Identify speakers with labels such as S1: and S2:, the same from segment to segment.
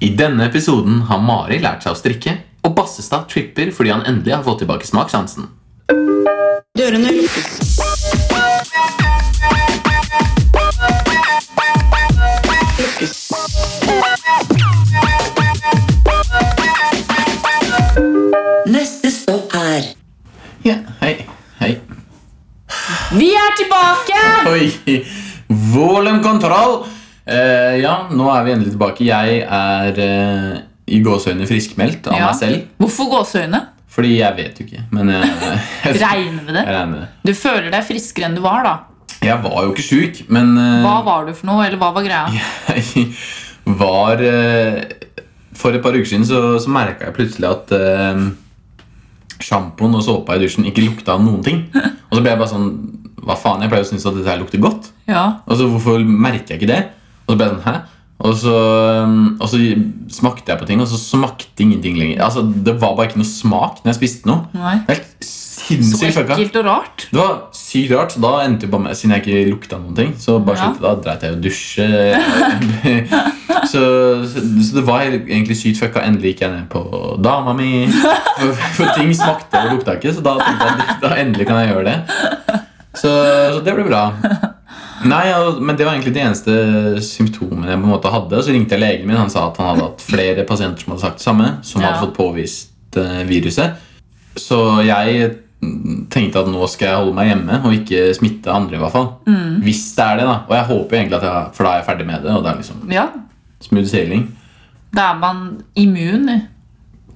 S1: I denne episoden har Mari lært seg å strikke, og Bassestad tripper fordi han endelig har fått tilbake smakssansen.
S2: Dørene lukkes. Lukkes. Neste stopp er
S1: Ja, hei, hei.
S3: Vi er tilbake!
S1: Oi, volumkontroll! Eh, ja, nå er vi endelig tilbake. Jeg er eh, i gåsøgne friskmeldt av
S3: Ja.
S1: meg selv.
S3: Hvorfor gåseøyne?
S1: Fordi jeg vet jo ikke, men jeg, jeg,
S3: Regner med det.
S1: jeg regner med det.
S3: Du føler deg friskere enn du var, da.
S1: Jeg var jo ikke sjuk, men eh,
S3: Hva var du for noe, eller hva var greia?
S1: jeg var eh, For et par uker siden så, så merka jeg plutselig at eh, sjampoen og såpa i dusjen ikke lukta av noen ting. Og så ble jeg bare sånn Hva faen, jeg pleier å synes at dette her lukter godt.
S3: Ja.
S1: Og så hvorfor merker jeg ikke det? Og så ble jeg sånn, hæ? Og så, um, og så smakte jeg på ting, og så smakte ingenting lenger. Altså, Det var bare ikke noe smak når jeg spiste noe.
S3: Nei.
S1: Helt
S3: Så
S1: sinnssykt fucka.
S3: ekkelt og rart.
S1: Det var sykt rart, så da endte jeg bare med Siden jeg ikke lukta noen ting, så bare
S3: Ja.
S1: sluttet da dreit jeg i å dusje. så, så, så det var egentlig sykt fucka. Endelig gikk jeg ned på dama mi. For, for ting smakte og lukta ikke, så da tenkte jeg da endelig kan jeg gjøre det. Så, så det ble bra. Nei, og, Men det var egentlig de eneste symptomene jeg på en måte hadde. Så ringte jeg legen min, han sa at han hadde hatt flere pasienter som hadde sagt det samme. Som
S3: Ja.
S1: hadde fått påvist eh, viruset. Så jeg tenkte at nå skal jeg holde meg hjemme og ikke smitte andre. i hvert fall Hvis det er det, da. Og jeg håper jo egentlig at jeg, For da er jeg ferdig med det. Og det er liksom
S3: Ja.
S1: smooth sailing.
S3: Da er man immun.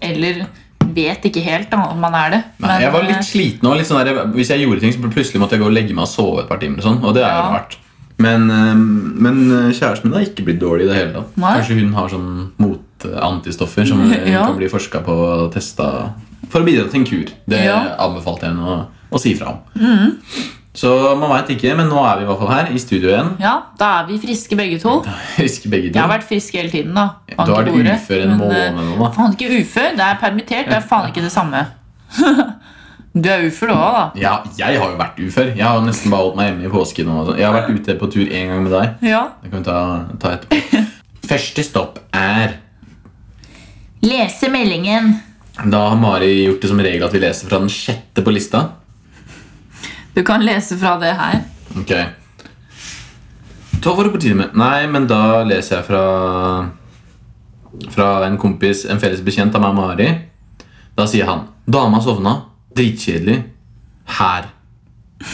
S3: Eller vet ikke helt da, om man er det.
S1: Nei,
S3: Men, eh,
S1: jeg var litt sliten òg. Litt sånn der, hvis jeg gjorde ting, så plutselig måtte jeg gå og legge meg og sove et par timer. Og sånn, og det er jo
S3: Ja.
S1: rart. Men, eh, men kjæresten min har ikke blitt dårlig i det hele tatt.
S3: Nei.
S1: Kanskje hun har sånn motantistoffer som eh,
S3: Ja.
S1: kan bli forska på og testa for å bidra til en kur. Det
S3: Ja. Mm.
S1: anbefalte jeg henne å, å si fra om. Så man veit ikke, men nå er vi i hvert fall her, i studio igjen.
S3: Ja, da er vi friske begge to.
S1: Jeg husker begge to.
S3: Jeg har vært frisk hele tiden, da. Bank
S1: du har
S3: i
S1: vært
S3: bordet.
S1: ufør en
S3: Men,
S1: måned
S3: eh,
S1: nå, da.
S3: Faen ikke ufør. Det er permittert. Det er faen ikke det samme. Du er ufør du òg, da.
S1: Ja, jeg har jo vært ufør. Jeg har jo nesten bare holdt meg hjemme i påsken. Og sånn. jeg har vært ute på tur én gang med deg.
S3: Ja.
S1: Det kan vi ta, ta etterpå. Første stopp er
S3: Lese meldingen.
S1: Da har Mari gjort det som regel at vi leser fra den sjette på lista.
S3: Du kan lese fra det her.
S1: Ok Da var det på tide med Nei, men da leser jeg fra Fra en kompis, en felles bekjent av meg og Mari. Da sier han Dama sovna. Dritkjedelig. Her.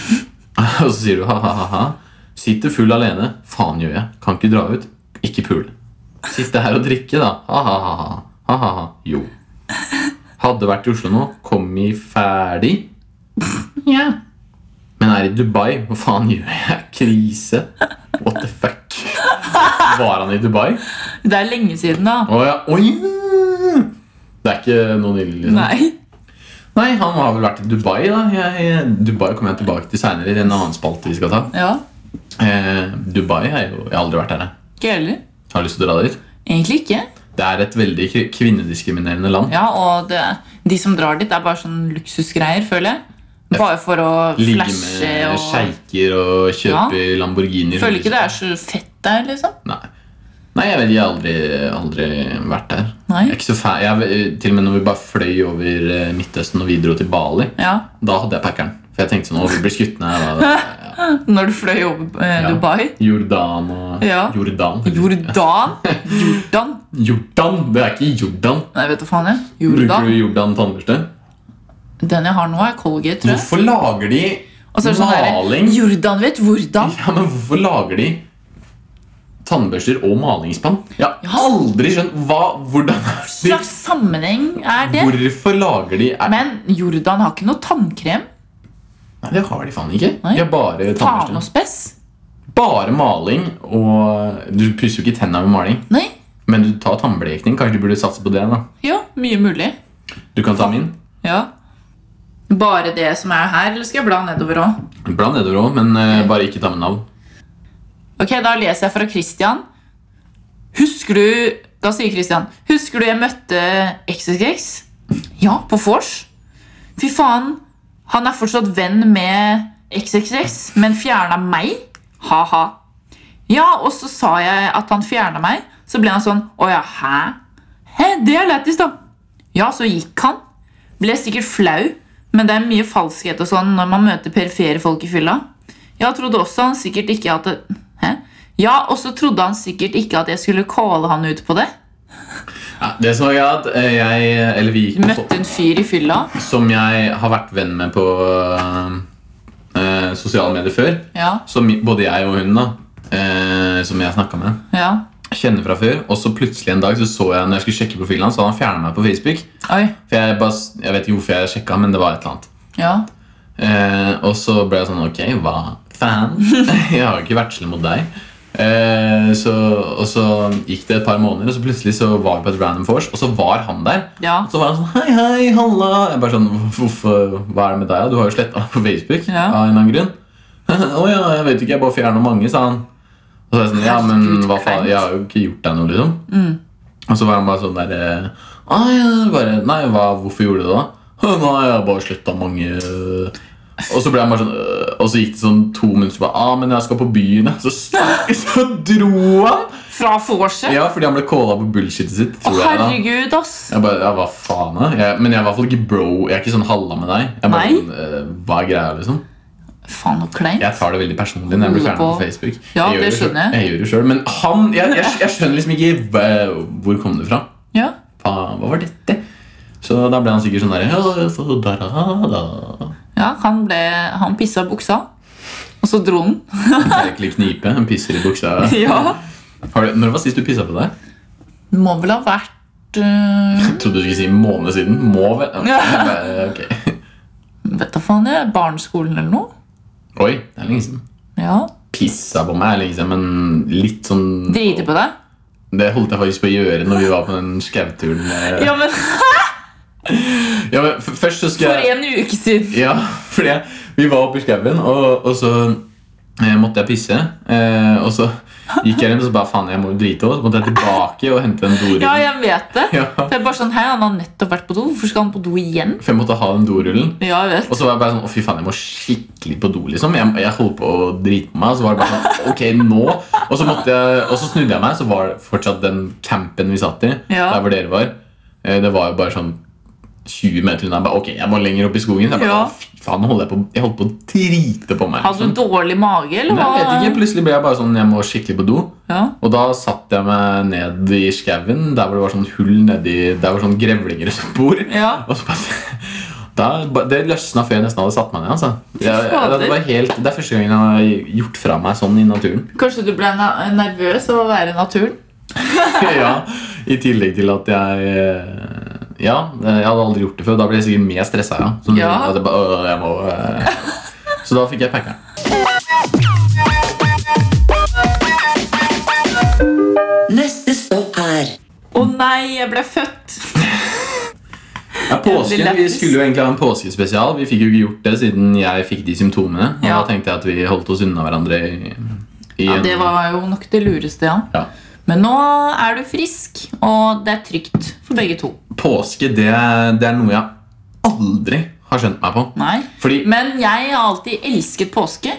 S1: Og så sier du ha-ha-ha. Sitter full alene. Faen gjør jeg. Kan ikke dra ut. Ikke pule. Sitte her og drikke, da. Ha-ha-ha. Ha-ha-ha. Jo. Hadde vært i Oslo nå. Kom i ferdig.
S3: Ja.
S1: Men er i Dubai. Hva faen gjør jeg? Krise. What the fuck? Var han i Dubai?
S3: Det er lenge siden, da.
S1: Å ja. Oi! Det er ikke noe nylig. Liksom.
S3: Nei.
S1: Nei, han har vel vært i Dubai. da jeg, Dubai kommer jeg tilbake til seinere i en annen spalte vi skal ta.
S3: Ja.
S1: Eh, Dubai er jo Jeg har aldri vært der. jeg.
S3: Ikke heller.
S1: Har lyst til å dra dit.
S3: Egentlig ikke.
S1: Det er et veldig kri- kvinnediskriminerende land.
S3: Ja, og det, De som drar dit, er bare sånn luksusgreier, føler jeg. Bare for å
S1: Ligge
S3: flashe
S1: med
S3: og
S1: sjeiker og kjøpe Lamborghini.
S3: Føler ikke det er så fett der, liksom.
S1: Nei. Nei, jeg vet, jeg har aldri, aldri vært der.
S3: Nei.
S1: Jeg er ikke så fan. Jeg, til og med når vi bare fløy over eh, Midtøsten og vi dro til Bali,
S3: Ja,
S1: da hadde jeg packeren. For jeg tenkte sånn, å, vi blir skutt ned. da." Ja.
S3: Når du fløy over eh,
S1: Ja.
S3: Dubai.
S1: Jordan og
S3: Ja.
S1: Jordan.
S3: Jordan? Jordan?
S1: Jordan! Det er ikke Jordan.
S3: Nei, vet du faen jeg.
S1: Bruker
S3: Jordan.
S1: du Jordan tannbørste?
S3: Den jeg har nå, er Colgate, tror jeg.
S1: Hvorfor lager de
S3: Og så er det sånn
S1: maling?
S3: der, Jordan vet hvordan.
S1: Ja, men hvorfor lager de tannbørster og malingsspann? Jeg har
S3: Ja.
S1: aldri skjønt hva, hvordan
S3: Hva slags sammenheng er det?
S1: Hvorfor lager de er,
S3: Men Jordan har ikke noe tannkrem.
S1: Nei, det har de faen ikke.
S3: Nei.
S1: De har bare
S3: Faen og
S1: tannbørste.
S3: spess.
S1: Bare maling og Du pusser jo ikke tenna med maling,
S3: Nei.
S1: men du tar tannblekning. Kanskje du burde satse på det? da
S3: Ja, mye mulig.
S1: Du kan ta min.
S3: Ja. Bare det som er her, eller skal jeg bla nedover òg?
S1: Bla nedover òg, men eh, bare ikke ta med navn.
S3: Ok, da leser jeg fra Christian. Husker du Da sier Christian Husker du jeg møtte XXX? Ja, på vors. Fy faen, han er fortsatt venn med XXX, men fjerna meg? Ha-ha. Ja, og så sa jeg at han fjerna meg, Så ble han sånn Å ja, hæ? Hæ, det er lættis, da. Ja, så gikk han. Ble sikkert flau, men det er mye falskhet og sånn når man møter perifere folk i fylla. Ja, trodde også han sikkert ikke at det, Hæ? Ja, og så trodde han sikkert ikke at jeg skulle calle han ut på det.
S1: Ja, det som var greia, at eh, jeg Eller vi gikk på
S3: Møtte en fyr i fylla.
S1: Som jeg har vært venn med på eh, sosiale medier før.
S3: Ja,
S1: Som både jeg og hun, da, eh, som jeg snakka med,
S3: ja.
S1: kjenner fra før. Og så plutselig en dag så så jeg når jeg skulle sjekke profilen hans, så hadde han fjerna meg på Facebook.
S3: Oi.
S1: For jeg, bare, s- jeg vet ikke hvorfor jeg sjekka, men det var et eller annet.
S3: Ja.
S1: Eh, og så ble jeg sånn Ok, hva faen? Jeg har jo ikke vært slem mot deg. Eh, så, og så gikk det et par måneder, og så plutselig så var vi på et random force, og så var han der.
S3: Ja.
S1: Og så var han sånn Hei, hei, halla. Jeg bare sånn Hvorfor, hva er det med deg? da? Du har jo sletta meg på Facebook
S3: Ja.
S1: av en eller annen grunn. Å ja, jeg vet ikke, jeg bare fjerner mange, sa han. Og så er jeg sånn Ja, men
S3: Herregud,
S1: hva faen,
S3: kleint.
S1: jeg har jo ikke gjort deg noe, liksom.
S3: Mm.
S1: Og så var han bare sånn der eh, «Ah, ja, bare, Nei, hva, hvorfor gjorde du det, da? «Hå, Nei, jeg har bare sletta mange øh». Og så ble han bare sånn «Øh», Og så gikk det sånn to minutter, så bare ah, men jeg skal på byen. jeg». Så, stakk- så dro han!
S3: Fra vorset.
S1: Ja, fordi han ble calla på bullshitet sitt.
S3: Å,
S1: Tror jeg, da.
S3: herregud, ass.
S1: Jeg bare, ja, hva faen da? jeg, Men jeg er i hvert fall ikke bro Jeg er ikke sånn halla med deg Jeg bare,
S3: Nei.
S1: sånn, eh, Hva er greia liksom?
S3: Faen, så kleint.
S1: Jeg tar det veldig personlig når jeg blir
S3: Holder
S1: ferdig på
S3: på.
S1: Facebook
S3: Ja,
S1: jeg gjør
S3: det
S1: selv-
S3: skjønner jeg.
S1: Jeg gjør det selv Men han, jeg, jeg, jeg skjønner liksom ikke hva- Hvor kom det fra?
S3: Ja.
S1: Faen, hva var dette? Så da ble han sikkert sånn der «Ja, så da, da, da».
S3: Ja, han, ble, han pissa i buksa, og så dro han.
S1: En Merkelig knipe, en pisser i buksa
S3: Ja.
S1: Har du, Når var sist du pisset på deg?
S3: Det må vel ha vært øh,
S1: Jeg trodde du skulle si måned siden Må vel?
S3: Ja.
S1: Jeg bare, ok.
S3: Vet da faen, jeg. Barneskolen eller noe?
S1: Oi, det er lenge siden
S3: Ja.
S1: Pissa på meg er lenge siden Men litt sånn
S3: Driter på deg?
S1: Det holdt jeg faktisk på å gjøre når vi var på den skauturen. Ja.
S3: Ja, men
S1: Ja, men f- først så skal
S3: for
S1: jeg
S3: en uke siden.
S1: Ja, fordi jeg, vi var oppe i skauen, og, og så eh, måtte jeg pisse. Eh, og så gikk jeg rundt og så bare faen, jeg må jo drite også. Så måtte jeg tilbake og hente en dorull.
S3: Ja, jeg vet det.
S1: Ja.
S3: For jeg er bare sånn, hei, Han har nettopp vært på do. Hvorfor skal han på do igjen?
S1: For jeg måtte ha den dorullen.
S3: Ja, jeg vet.
S1: Og så var jeg bare sånn Å, fy faen, jeg må skikkelig på do, liksom. Jeg, jeg holdt på å drite på meg. Og så var det bare sånn Ok, nå. Og så, måtte jeg, og så snudde jeg meg, så var det fortsatt den campen vi satt i,
S3: Ja.
S1: der hvor dere var, eh, det var jo bare sånn 20 meter unna. Jeg bare, Ok, jeg må lenger opp i skogen. Så Jeg bare,
S3: Ja.
S1: «Å, fy faen, nå holder jeg på Jeg holdt på å drite på meg.
S3: Hadde
S1: Liksom.
S3: du dårlig mage, eller
S1: Nei,
S3: hva?
S1: jeg vet ikke. Plutselig ble jeg bare sånn Jeg må skikkelig på do.
S3: Ja.
S1: Og da satt jeg meg ned i skauen, der hvor det var sånn hull nedi Der hvor sånn grevlinger som bor.
S3: Ja.
S1: Og så bare, da, ba- det løsna før jeg nesten hadde satt meg ned. Altså. Jeg, jeg, det, var helt, det er første gangen jeg har gjort fra meg sånn i naturen.
S3: Kanskje du ble na- nervøs av å være i naturen?
S1: ja, I tillegg til at jeg eh, Ja, jeg hadde aldri gjort det før. Da ble jeg sikkert mer stressa. Ja. Sånn,
S3: Ja.
S1: at jeg bare, «Åh, jeg må, eh». Så da fikk jeg packeren.
S2: Neste stopp er
S3: Å nei, jeg ble født!
S1: Ja, påsken,
S3: Jævlig
S1: Vi
S3: lættis.
S1: skulle jo egentlig ha en påskespesial. Vi fikk jo ikke gjort det siden jeg fikk de symptomene. Og
S3: Ja.
S1: da tenkte jeg at vi holdt oss unna hverandre. I, i
S3: Ja,
S1: en-
S3: Det var jo nok det lureste, ja.
S1: ja.
S3: Men nå er du frisk, og det er trygt for begge to.
S1: Påske, det, det er noe jeg aldri har skjønt meg på.
S3: Nei.
S1: Fordi
S3: Men jeg har alltid elsket påske.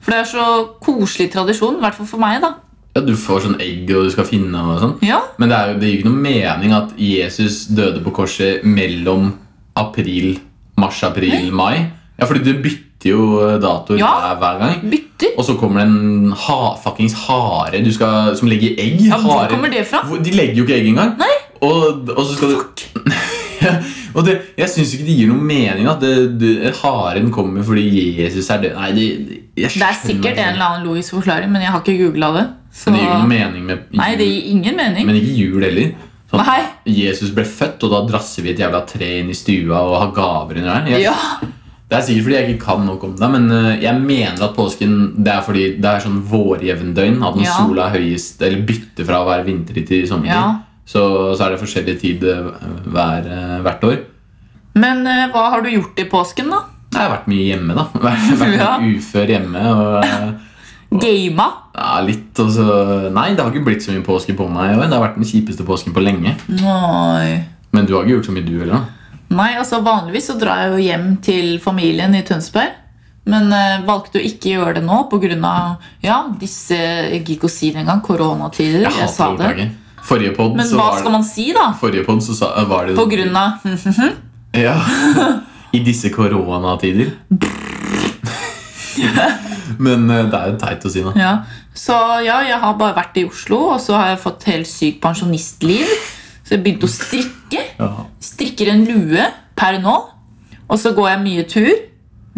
S3: For det er så koselig tradisjon, i hvert fall for meg. da.
S1: Ja, du får sånn egg og du skal finne og sånn.
S3: Ja,
S1: Men det, er jo, det gir jo ikke noen mening at Jesus døde på korset mellom april, mars-april, mai. Ja, fordi du bytter jo eh, datoer
S3: Ja.
S1: hver, hver gang.
S3: Bytter.
S1: Og så kommer det en ha, fuckings hare du skal, som legger egg.
S3: Ja, hvor
S1: Hare-
S3: kommer det fra?
S1: Hvor- De legger jo ikke egg engang. Nei. Og, og så skal du Og det, jeg syns ikke det gir noen mening at det, det, haren kommer fordi Jesus er død. Nei, det, jeg
S3: Det er sikkert en eller annen logisk forklaring, men jeg har ikke googla det. Så...
S1: Men det gir ikke noen mening med
S3: Nei, det gir ingen mening.
S1: Men ikke jul heller. Sånn,
S3: Nei.
S1: Jesus ble født, og da drasser vi et jævla tre inn i stua og har gaver inni der. Jeg-
S3: Ja,
S1: Det er sikkert fordi jeg ikke kan nok om det, men øh, jeg mener at påsken Det er fordi det er sånn vårjevndøgn, at når
S3: Ja.
S1: sola er høyest, eller bytter fra å være vintertid til sommertid,
S3: Ja.
S1: så, så er det forskjellig tid øh, hver, øh, hvert år.
S3: Men eh, hva har du gjort i påsken, da?
S1: Jeg har vært mye hjemme, da. Vært, vært
S3: Ja.
S1: litt ufør hjemme. og... øh,
S3: Gama?
S1: Ja, litt, og så... Nei, det har ikke blitt så mye påske på meg. i år. Det har vært den kjipeste påsken på lenge.
S3: Nei.
S1: Men du har ikke gjort så mye, du heller? da?
S3: Nei, altså Vanligvis så drar jeg jo hjem til familien i Tønsberg. Men eh, valgte å ikke gjøre det nå pga. Ja, disse Jeg gikk å si det engang. Koronatider.
S1: Jeg
S3: Jeg,
S1: hater
S3: sa det.
S1: ordtaket. Forrige podd
S3: Men
S1: så
S3: hva
S1: var
S3: skal man si, da?
S1: Forrige podd så sa, var det
S3: På grunn av hm,
S1: Ja. I disse koronatider. Men eh, det er jo teit å si noe.
S3: ja. Så ja, jeg har bare vært i Oslo, og så har jeg fått helt sykt pensjonistliv. Så jeg begynte å strikke.
S1: Ja.
S3: Strikker en lue per nå. Og så går jeg mye tur.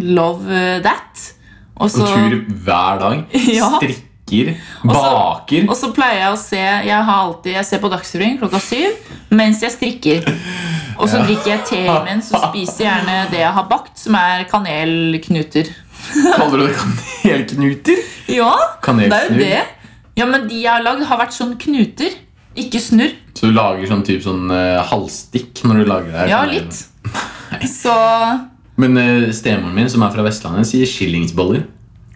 S3: Love eh, that. Og
S1: På
S3: så,
S1: tur hver dag.
S3: Ja.
S1: Strikker.
S3: så-
S1: Baker.
S3: og så pleier jeg å se Jeg har alltid, jeg ser på Dagsrevyen klokka syv mens jeg strikker. Og så drikker jeg te imens og spiser gjerne det jeg har bakt, som er kanelknuter.
S1: Kaller du det kanelknuter?
S3: Ja, det er jo
S1: Kanelsnurr.
S3: det. Ja, men de jeg har lagd, har vært sånn knuter. Ikke snurr.
S1: Så du lager sånn type sånn eh, halvstikk når du lager det? sånn her
S3: Ja,
S1: kanel.
S3: litt. Så
S1: Men eh, stemoren min, som er fra Vestlandet, sier skillingsboller.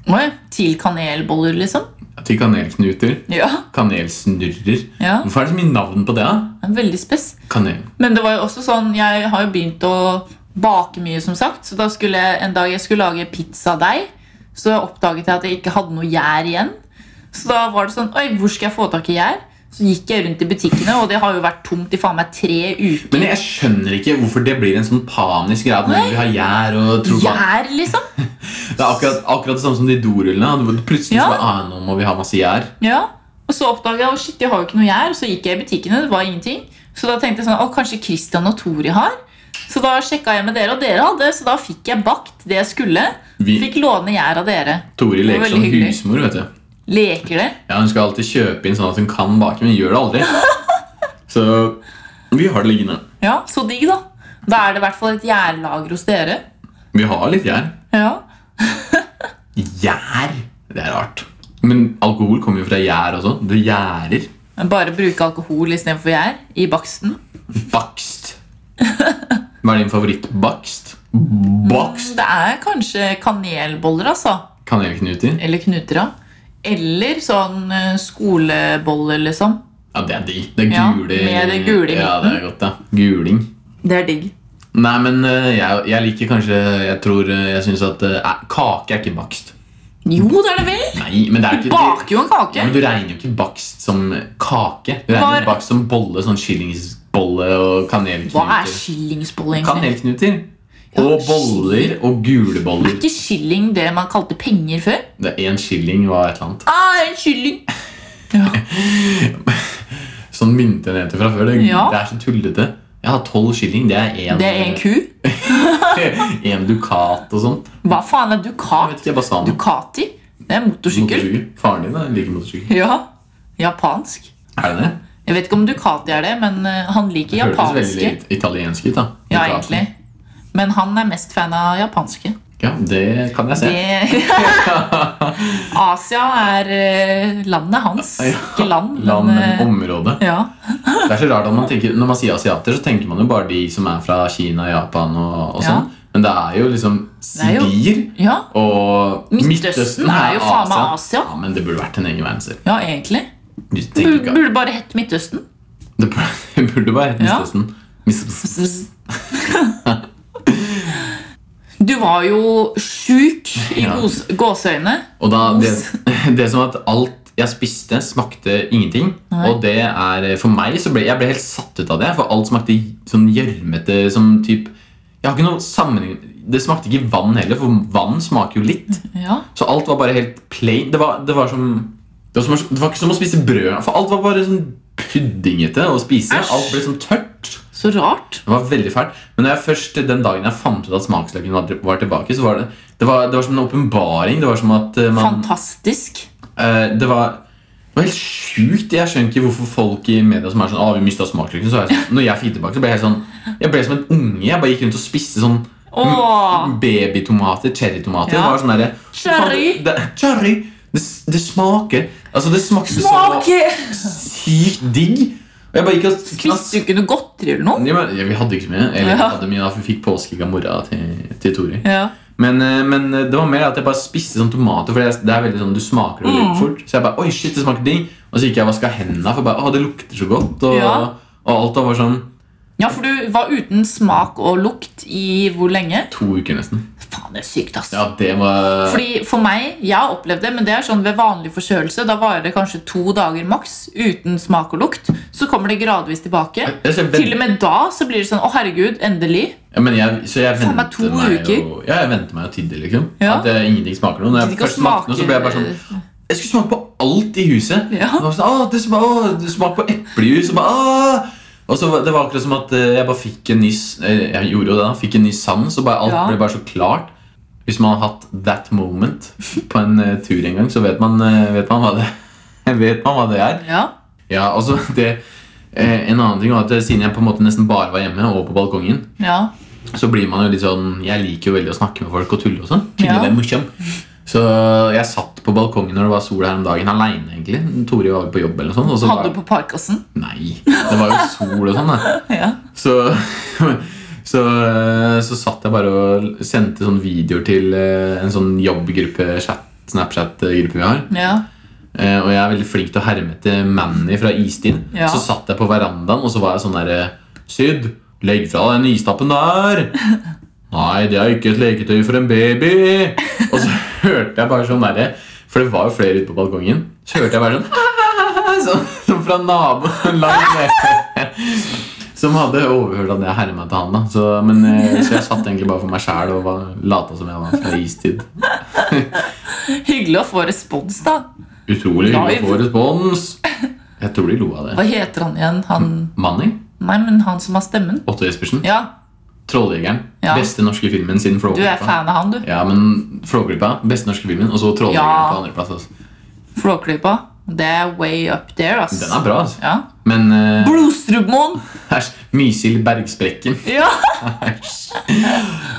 S3: Oi, til kanelboller, liksom.
S1: Til kanelknuter.
S3: Ja,
S1: Kanelsnurrer.
S3: ja.
S1: Hvorfor er det så mye navn på det? da?
S3: Veldig spes.
S1: Kanel.
S3: Men det var jo også sånn, jeg har jo begynt å bake mye, som sagt. Så da skulle jeg, en dag jeg skulle lage pizzadeig, så oppdaget jeg at jeg ikke hadde noe gjær igjen. Så da var det sånn Oi, hvor skal jeg få tak i gjær? Så gikk jeg rundt i butikkene, og det har jo vært tomt i faen meg tre uker.
S1: Men jeg skjønner ikke hvorfor det blir en sånn panisk greie at vi har gjær og tror man-
S3: Gjær, liksom?
S1: Det er akkurat, akkurat det samme som de dorullene. at hvor Plutselig
S3: Ja.
S1: så bare, ah, nå må vi ha masse gjær.
S3: Ja, og så oppdaget jeg, «Å, shit, jeg har jo ikke noe gjær, så gikk jeg i butikkene, det var ingenting. Så da tenkte jeg sånn, å, kanskje Christian og Tori har? Så da sjekket jeg med dere, og dere hadde, så da fikk jeg bakt det jeg skulle.
S1: Vi-
S3: Fikk låne gjær av dere.
S1: Tori
S3: var
S1: leker
S3: veldig
S1: som
S3: hyggelig.
S1: husmor. vet du
S3: Leker det?
S1: ja, Hun skal alltid kjøpe inn sånn at hun kan bake, men gjør det aldri. Så vi har det liggende.
S3: Ja, så digg da. Da er det i hvert fall et gjærlager hos dere.
S1: Vi har litt gjær.
S3: Ja.
S1: Gjær! Det er rart. Men alkohol kommer jo fra gjær også. Du gjærer.
S3: Men bare bruke alkohol i stedet for gjær i baksten.
S1: Bakst. Hva er din favorittbakst? Bakst?
S3: Det er kanskje kanelboller, altså.
S1: Kanelknuter?
S3: Eller knuter, ja. Eller sånn eh, skoleboller, liksom.
S1: Ja, det er digg. Det er
S3: Ja,
S1: gule
S3: med det gule i
S1: Ja, det er godt, ja. Guling.
S3: Det er digg.
S1: Nei, men eh, jeg, jeg liker kanskje Jeg tror eh, jeg syns at eh, Kake er ikke bakst.
S3: Jo, det er det vel!
S1: Nei, men det er ikke
S3: Baker jo en
S1: Ja,
S3: kake.
S1: men Du regner jo ikke bakst som kake. Du
S3: Hva
S1: regner
S3: er-
S1: bakst som bolle, sånn skillingsbolle og
S3: Hva er
S1: kanelknuter.
S3: skillingsbolle, egentlig?
S1: Kanelknuter.
S3: Ja,
S1: Og boller og gule
S3: Er
S1: boller.
S3: ikke skilling det man kalte penger før?
S1: Det er Én skilling var et eller annet.
S3: Ah, en kylling! Ja.
S1: Sånn myntenheter fra før. Det,
S3: Ja.
S1: det er så tullete. Jeg har tolv skilling. Det er én
S3: Det er en ku.
S1: en dukat og sånt.
S3: Hva faen er
S1: Jeg vet
S3: dukat?
S1: ikke, jeg bare sa noe.
S3: Ducati? Det er motorsykkel.
S1: Motorsykkel. Faren din da, liker motorsykkel.
S3: Ja. Japansk.
S1: Er det det?
S3: Jeg vet ikke om Ducati er det, men eh, han liker
S1: Det Hørtes
S3: japanske.
S1: veldig it- italiensk ut, da.
S3: Ja,
S1: Dukaten.
S3: egentlig. Men han er mest fan av japanske.
S1: Ja, det kan jeg se.
S3: Det... Asia er eh, landet hans.
S1: Ja.
S3: Ikke land,
S1: Land,
S3: men eh,
S1: men område.
S3: ja.
S1: Det er så rart at man tenker, Når man sier asiater, så tenker man jo bare de som er fra Kina, Japan og, og
S3: Ja.
S1: sånn. Men det er jo liksom
S3: er jo-
S1: Sibir
S3: ja.
S1: og
S3: Midtøsten er jo faen meg Asia.
S1: Ja, men det burde vært en egen verdensdel.
S3: Ja, egentlig.
S1: Du tenker
S3: Bur-
S1: ikke at-
S3: Burde bare hett Midtøsten.
S1: Det burde, det burde bare hett
S3: Ja.
S1: Midtøsten. Midtøsten.
S3: Du var jo sjuk i
S1: Ja.
S3: gås gåseøyne.
S1: Og da, det, det er som at alt jeg spiste, smakte ingenting.
S3: Nei.
S1: Og det er eh, For meg så ble jeg ble helt satt ut av det, for alt smakte sånn gjørmete som typ Jeg har ikke noe sammenheng Det smakte ikke vann heller, for vann smaker jo litt.
S3: Ja.
S1: Så alt var bare helt plain. Det var, det var som det var, som, det var ikke som å spise brød. For alt var bare sånn puddingete å spise.
S3: Æsj.
S1: Alt ble sånn tørt.
S3: Så rart.
S1: Det var veldig fælt. Men når jeg først, den dagen jeg fant ut at smaksløken var- var tilbake, så var det Det var, det var som en åpenbaring. Det var som at eh, man
S3: Fantastisk.
S1: Eh, det var det var helt sjukt. Jeg skjønner ikke hvorfor folk i media som er sånn ah, vi mistet smakløken. Så er jeg sånn, når jeg fikk tilbake, så ble jeg helt sånn Jeg ble som en unge. Jeg bare gikk rundt og spiste sånn
S3: Åh.
S1: babytomater, cherrytomater.
S3: Ja.
S1: Det var sånn derre
S3: Cherry.
S1: Det, cherry. Det, s- det smaker Altså, det smakte
S3: Smaker!
S1: så sykt digg. Og jeg bare gikk og
S3: Spiste du ikke noe godteri eller noe?
S1: Ja, men, ja, vi hadde ikke så mye. Eller vi
S3: Ja.
S1: hadde mye da, for vi fikk påskeegg av mora til, til Tori.
S3: Ja.
S1: Men, eh, men det var mer at jeg bare spiste sånn tomater. For det er- det er veldig sånn, du smaker det
S3: Mm.
S1: litt fort Så jeg bare, oi shit, det smaker digg Og så gikk jeg og vaska hendene, for bare, å, det lukter så godt. Og,
S3: Ja.
S1: og alt var bare sånn
S3: Ja, for du var uten smak og lukt i hvor lenge?
S1: to uker nesten.
S3: Faen, faen, det er sykt, ass.
S1: Ja, det var
S3: Fordi For meg, jeg har opplevd det, men det er sånn ved vanlig forkjølelse. Da varer det kanskje to dager maks uten smak og lukt. Så kommer det gradvis tilbake.
S1: Jeg ser
S3: Til
S1: vent-
S3: og med da så blir det sånn Å, herregud, endelig.
S1: ja, men jeg, så jeg
S3: Faen meg
S1: venter
S3: to
S1: meg
S3: uker.
S1: jo Ja, jeg venter meg jo til det, liksom.
S3: Ja.
S1: At eh, ingenting smaker noe. Når jeg
S3: Gidder ikke å
S1: først smakte noe, så ble jeg bare sånn Jeg skulle smake på alt i huset.
S3: Ja.
S1: Det var Sånn, «Åh, det, smak, åh, det smak på eplejus. Og, bare, «Åh!» og så var- Det var akkurat som at eh, jeg bare fikk en ny s- eh, Jeg gjorde jo det, da. Fikk en ny sans, og bare, alt
S3: Ja.
S1: ble bare så klart. Hvis man har hatt that moment på en eh, tur en gang, så vet man, eh, vet man hva det Vet man hva det er.
S3: Ja.
S1: Ja, altså det eh, En annen ting var at eh, siden jeg på en måte nesten bare var hjemme og på balkongen,
S3: ja.
S1: så blir man jo litt sånn Jeg liker jo veldig å snakke med folk og tulle og sånn. Tulle
S3: Ja.
S1: med morsom. Så jeg satt på balkongen når det var sol her om dagen, aleine egentlig. Tore var jo på jobb eller noe sånt. Og så
S3: Hadde
S1: bare-
S3: du på parkasen?
S1: Nei, det var jo sol og sånn, da.
S3: Ja.
S1: Så, så, så satt jeg bare og sendte sånne videoer til eh, en sånn jobbgruppe, chat, Snapchat-gruppe vi har.
S3: ja.
S1: Eh, og jeg er veldig flink til å herme etter Manny fra Istid.
S3: Ja.
S1: Så satt jeg på verandaen, og så var jeg sånn derre Syd, legg fra deg den istappen der! Nei, det er ikke et leketøy for en baby! Og så hørte jeg bare sånn derre For det var jo flere ute på balkongen. Så hørte jeg bare sånn Sånn, sånn fra naboen langt nede. Som hadde overhørt at jeg herma til han. da så, men, eh, så jeg satt egentlig bare for meg sjæl og var- lata som jeg var fra istid.
S3: Hyggelig å få respons, da.
S1: Utrolig hyggelig å få
S3: Live.
S1: respons. Jeg tror de lo av det.
S3: Hva heter han igjen? Han
S1: Manning?
S3: Nei, men han som har stemmen.
S1: Otto Jespersen?
S3: Ja,
S1: Trolljegeren.
S3: Ja.
S1: Beste norske filmen siden
S3: du er
S1: Flåklypa.
S3: fan av han, du.
S1: Ja, men Flåklypa, beste norske filmen, og så Trolljegeren
S3: Ja.
S1: på andreplass. Altså.
S3: Flåklypa. Det er way up there, ass.
S1: Den er bra, altså.
S3: Ja.
S1: Men eh,
S3: Blodstrupmoen!
S1: æsj. Mysil Bergsprekken.
S3: Ja.
S1: Æsj.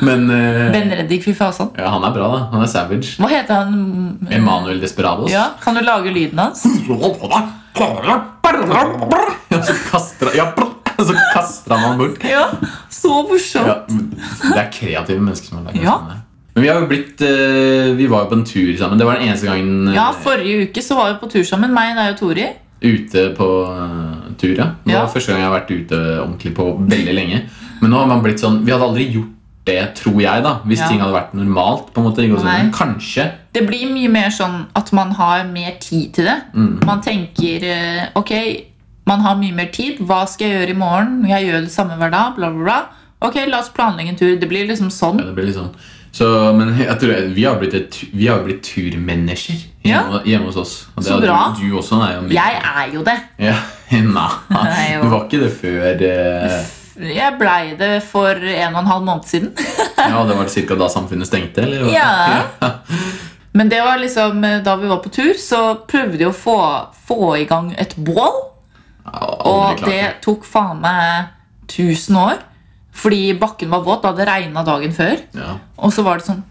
S1: Men eh,
S3: Benredik fy fasan.
S1: ja, han er bra, da. Han er savage.
S3: Hva heter han?
S1: Emanuel Desperados.
S3: Ja, Kan du lage lyden hans?
S1: Og så kaster han ja, Og så kaster han han bort.
S3: Ja, Så morsomt!
S1: Ja, det er kreative mennesker som har lagd
S3: Ja.
S1: den. filmen. Men vi har jo blitt eh, Vi var jo på en tur sammen. Det var den eneste gangen eh,
S3: Ja, Forrige uke så var vi på tur sammen, meg, deg og Tori.
S1: ute på eh, tur, ja. Det
S3: Ja.
S1: var første gang jeg har vært ute ordentlig på veldig lenge. Men nå har man blitt sånn Vi hadde aldri gjort det, tror jeg, da hvis
S3: Ja.
S1: ting hadde vært normalt. på en måte i gåseøyne.
S3: Nei.
S1: Kanskje.
S3: Det blir mye mer sånn at man har mer tid til det. Man tenker eh, Ok, man har mye mer tid. Hva skal jeg gjøre i morgen? Jeg gjør det samme hver dag. Bla, bla, bla. Ok, la oss planlegge en tur. Det blir liksom sånn.
S1: Ja, det blir litt sånn. Så, men jeg tror vi har blitt, et, vi har blitt turmennesker hjemme, hjemme hos oss. Og
S3: Så
S1: har
S3: bra.
S1: Du, du også er jo med.
S3: Jeg er jo det.
S1: Ja,
S3: Nei,
S1: Nei,
S3: jo.
S1: du var ikke det før eh,
S3: Jeg blei det for en og en halv måned siden.
S1: Ja, det var cirka da samfunnet stengte? eller? hva?
S3: Ja. Men det var liksom eh, da vi var på tur, så prøvde vi å få, få i gang et bål.
S1: Ja,
S3: Og
S1: aldri klart
S3: det tok faen meg 1000 år. Fordi bakken var våt. Da hadde det regna dagen før.
S1: Ja.
S3: Og så var det sånn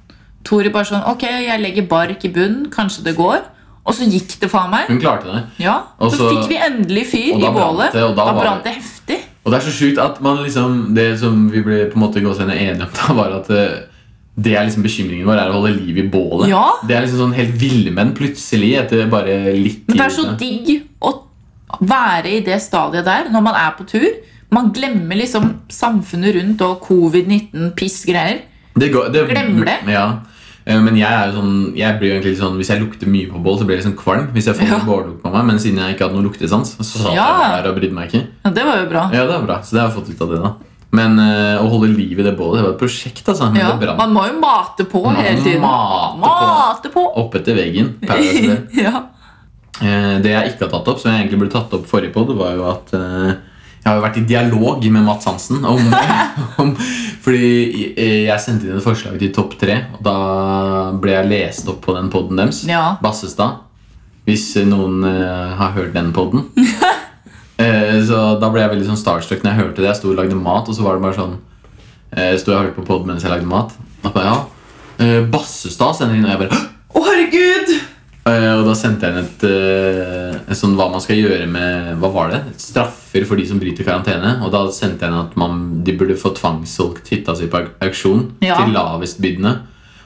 S3: Tori bare sånn Ok, jeg legger bark i bunnen. Kanskje det går. Og så gikk det faen meg.
S1: Hun klarte det.
S3: Ja,
S1: Mm. Og
S3: Så
S1: så-
S3: fikk vi endelig fyr
S1: og
S3: i
S1: da brant
S3: bålet.
S1: det, og da
S3: da
S1: var
S3: brant
S1: det-
S3: det heftig.
S1: Og det er så sjukt at man liksom Det som vi ble på en måte gåsehudene enige om, da, var at eh, det er liksom bekymringen vår er å holde liv i bålet.
S3: Ja.
S1: Det er liksom sånn helt villmenn plutselig etter bare litt tid.
S3: Men det er så digg å være i det stadiet der når man er på tur. Man glemmer liksom samfunnet rundt og covid-19-piss-greier.
S1: Det går- det-
S3: Glemmer det.
S1: Ja. Eh, Men jeg er jo sånn, jeg blir jo egentlig litt sånn hvis jeg lukter mye på bål, så blir jeg liksom kvalm. Hvis jeg får
S3: Ja.
S1: noe bållukt på meg Men siden jeg ikke hadde noe luktesans, så satt jeg
S3: Ja.
S1: bare her og brydde meg ikke.
S3: Ja, det var jo bra.
S1: Ja, det er bra, så det har jeg fått ut av det da Men eh, å holde liv i det bålet, det var et prosjekt altså Men
S3: Ja,
S1: det brant
S3: man må jo mate på
S1: Man må
S3: hele tiden.
S1: mate på.
S3: Mate på.
S1: opp etter veggen Paradise Hotel.
S3: ja.
S1: Eh, Det jeg ikke har tatt opp, som jeg egentlig burde tatt opp forrige podd Var jo at eh, jeg har jo vært i dialog med Mats Hansen om, om, Fordi eh, jeg sendte inn et forslag til topp 3 Og da ble jeg lest opp på den podden deres
S3: Ja.
S1: Bassestad Hvis eh, noen eh, har hørt den podden Eh, Så da ble jeg veldig sånn starstruck når jeg hørte det. Jeg sto og lagde mat, og så var det bare sånn eh, Sto jeg og hørte på pod mens jeg lagde mat. Og bare, ja, eh, Bassestad sender inn, og jeg bare «Hå!»
S3: Å, herregud!
S1: Eh, Og da sendte jeg inn et, eh, et sånn hva man skal gjøre med Hva var det? Straffer for de som bryter karantene. Og da sendte jeg inn at man, de burde få tvangssolgt hytta si på au- auksjon
S3: Ja.
S1: til lavestbydende.